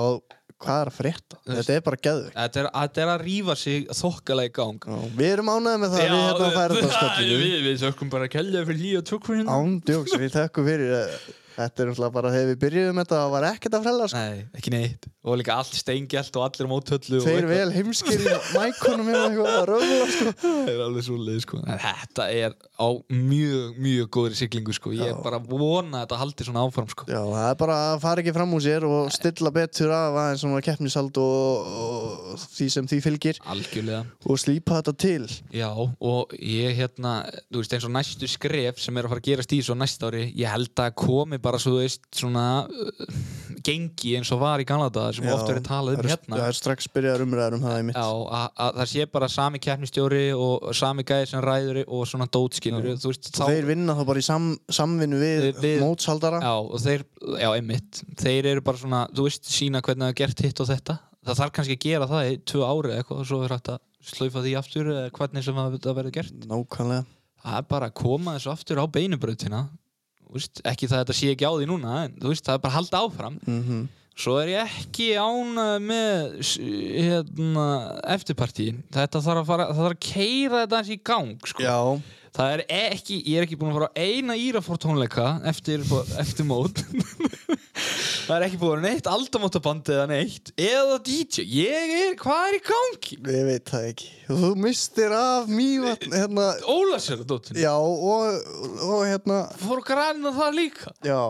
A: hvað er að frétta? Þetta er bara geðveikt
B: þetta er, þetta er að rífa sig þokkalega í gang
A: Já, við erum ánæðið með það að við hérna á
B: við,
A: færðarskallinu
B: við, við sökkum bara að kellja fyrir hlýja tökurinn
A: Ándjóks, við þökkum fyrir eh, Þetta er náttúrulega bara þegar við byrjuðum þetta það var ekkert að frella sko.
B: Nei, ekki neitt og líka allt steingjalt og allir mótöllu
A: Þeir vel heimskir í mækunum eða eitthvað að röfla sko.
B: Það er alveg svoleið sko en Þetta er á mjög, mjög góðri siglingu sko Ég er
A: Já.
B: bara að vona að þetta haldi svona áfram sko
A: Já, það er bara að fara ekki fram úr sér og stilla betur af aðeins svona keppnisald og, og því sem því fylgir
B: Algjörlega
A: og slípa þetta til
B: Já, og ég hérna, þú veist eins og næstu skref sem er að fara að gerast í svo næsta ári Ég held að komi bara svo þú veist svona uh, gengi eins og var í Galata sem
A: Já,
B: oft verið talað
A: það
B: um
A: eru-
B: hérna
A: Það er strax byrjað umræðar um það í mitt
B: Já, að að það sé bara sami keppnistjóri og sami gæði sem ræður og svona dótskilur Þú veist,
A: og þeir vinna þá bara í sam, samvinnu við,
B: Við- við-
A: mótsaldara
B: Já, og þeir, já, einmitt Þeir eru bara svona, þú veist, sína hvernig það er gert hitt og þetta Það þarf kannski að gera það í tvö ári eða eitthvað og svo er hægt að slaufa því aftur eða hvernig sem það það verður gert
A: Nákvæmlega
B: Það er bara að koma þessu aftur á beinubrautina Þú veist, ekki það að þetta sé ekki á því núna en þú veist, það er bara að halda áfram
A: mm
B: Svo er ég ekki ánað með s- hérna, eftirpartíin Þetta þarf að fara, það þarf að keira þetta eins í gang sko.
A: Já,
B: Það er ekki, ég er ekki búin að fara á eina Írafór tónleika eftir, eftir mót Það er ekki búin að vera neitt aldamótabandi eða neitt eða DJ, ég er, hvað er í gangi?
A: Ég veit það ekki. Þú mistir af mývatn, hérna,
B: Ólasjölu dóttin,
A: já, og, og hérna,
B: fór að græna það líka
A: já,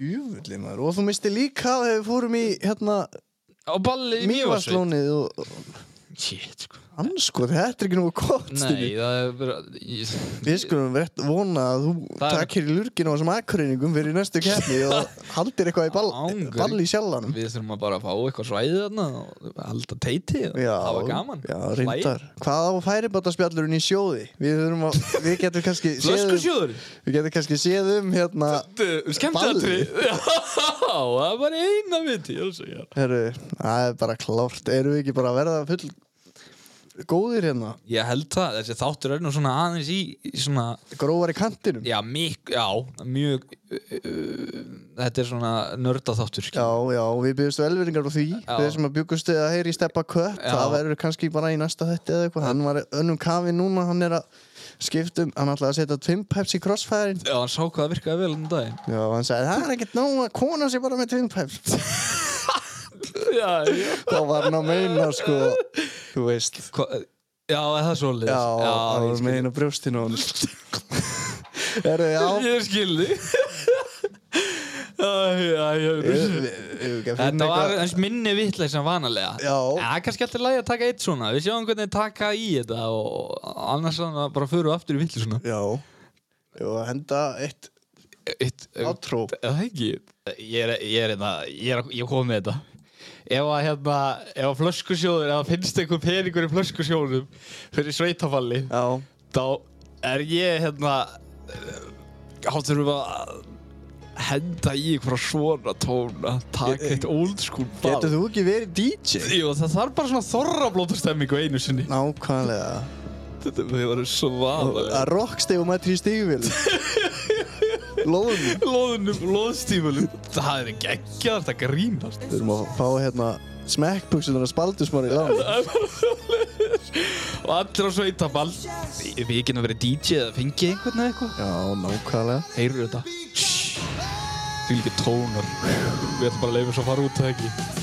A: djúvulli maður. Og þú mistir líka af þegar við fórum í, hérna,
B: á balli í Mývarslón
A: mývatnslónið og, og
B: Shit, sko
A: anskoð, þetta er ekki nú gott,
B: Nei,
A: stunni.
B: það er bara ég,
A: Við skulum rétt vona að þú
B: Það er-
A: takir í lurgin á þessum akkuriningum fyrir næstu keppni og haldir eitthvað í ball,
B: Ángur.
A: ball í sjálfanum.
B: Við þurfum að bara fá eitthvað svæðið þarna og halda teiti og
A: Já,
B: það var gaman
A: Já,
B: Hlæja.
A: reyndar. Hvað á færibátaspjallurinn í sjóði? Við þurfum að, við getum kannski séð um,
B: Flöskusjóður
A: við getum kannski séð um hérna
B: Skemmtatri Já, það var eina viti ég er að segja.
A: Herru, það er bara klárt. Erum við ekki bara að verða full góðir hérna
B: Ég held það, þessi þáttur er nú svona aðeins í, í svona,
A: Grófar í kantinum
B: já, mik, já, mjög, uh, uh, þetta er svona nörda þáttur,
A: Já, já, við byggjumst velveringar á því
B: Já.
A: Þeir sem að bjuggust eða heyri í steppa kött
B: Já.
A: Það verður kannski bara í næsta þetta eða eitthvað Hann var önnum kafi núna, hann er að skiptum Hann ætlaði að setja Twin Peps í crossfærin
B: Já, hann sá hvað það virkaði vel um daginn.
A: Já, hann sagði, það er ekkert nóg að kona sér bara með Twin Peps
B: Já, já.
A: Þá var hann að meina, sko Þú veist
B: Hva, já, er það er svolítið.
A: Já, það
B: ég
A: var
B: skil.
A: meina brjóstinu hann Erðu, já
B: Ég skildi
A: Ég- ég- ég-
B: Þetta var
A: eitthvað-
B: eins minni vitleis sem vanalega
A: Já.
B: En Það er kannski alltaf lægi að taka eitt svona Við sjáum hvernig þeir taka í þetta og annars svona bara förum við aftur í vitleis svona
A: Já Jú, að henda eitt
B: Eitt,
A: átrú
B: Er það ekki? Ég er, ég er, einna, ég er, ég er komið með þetta Ef að hérna, ef að flöskusjóður ef að finnst einhver peningur í flöskusjóðum fyrir sveitafalli
A: Já,
B: þá er ég hérna háttur um að henda í einhverja svona tóna taka eitt old school ball
A: getur þú ekki verið DJ?
B: Jú, það þarf bara svona þorrablóta stemmingu einu sinni
A: Nákvæmlega
B: Þetta við varum svaða
A: Að rockstegu með trí stígvél Lóðum
B: Lóðunum, lóðstífulum Það er geggjað, þetta grínast
A: Við erum að fá hérna smekkbuksunar að spaldusmar í land
B: Það er bara svoleiðis. Og allir á sveitaball Við við getum að vera DJ eða fengi einhvern eða eitthvað
A: Já, nákvæmlega
B: Heyrðu þetta Því líka tónar Við ætlum bara að leifa svo að fara út það ekki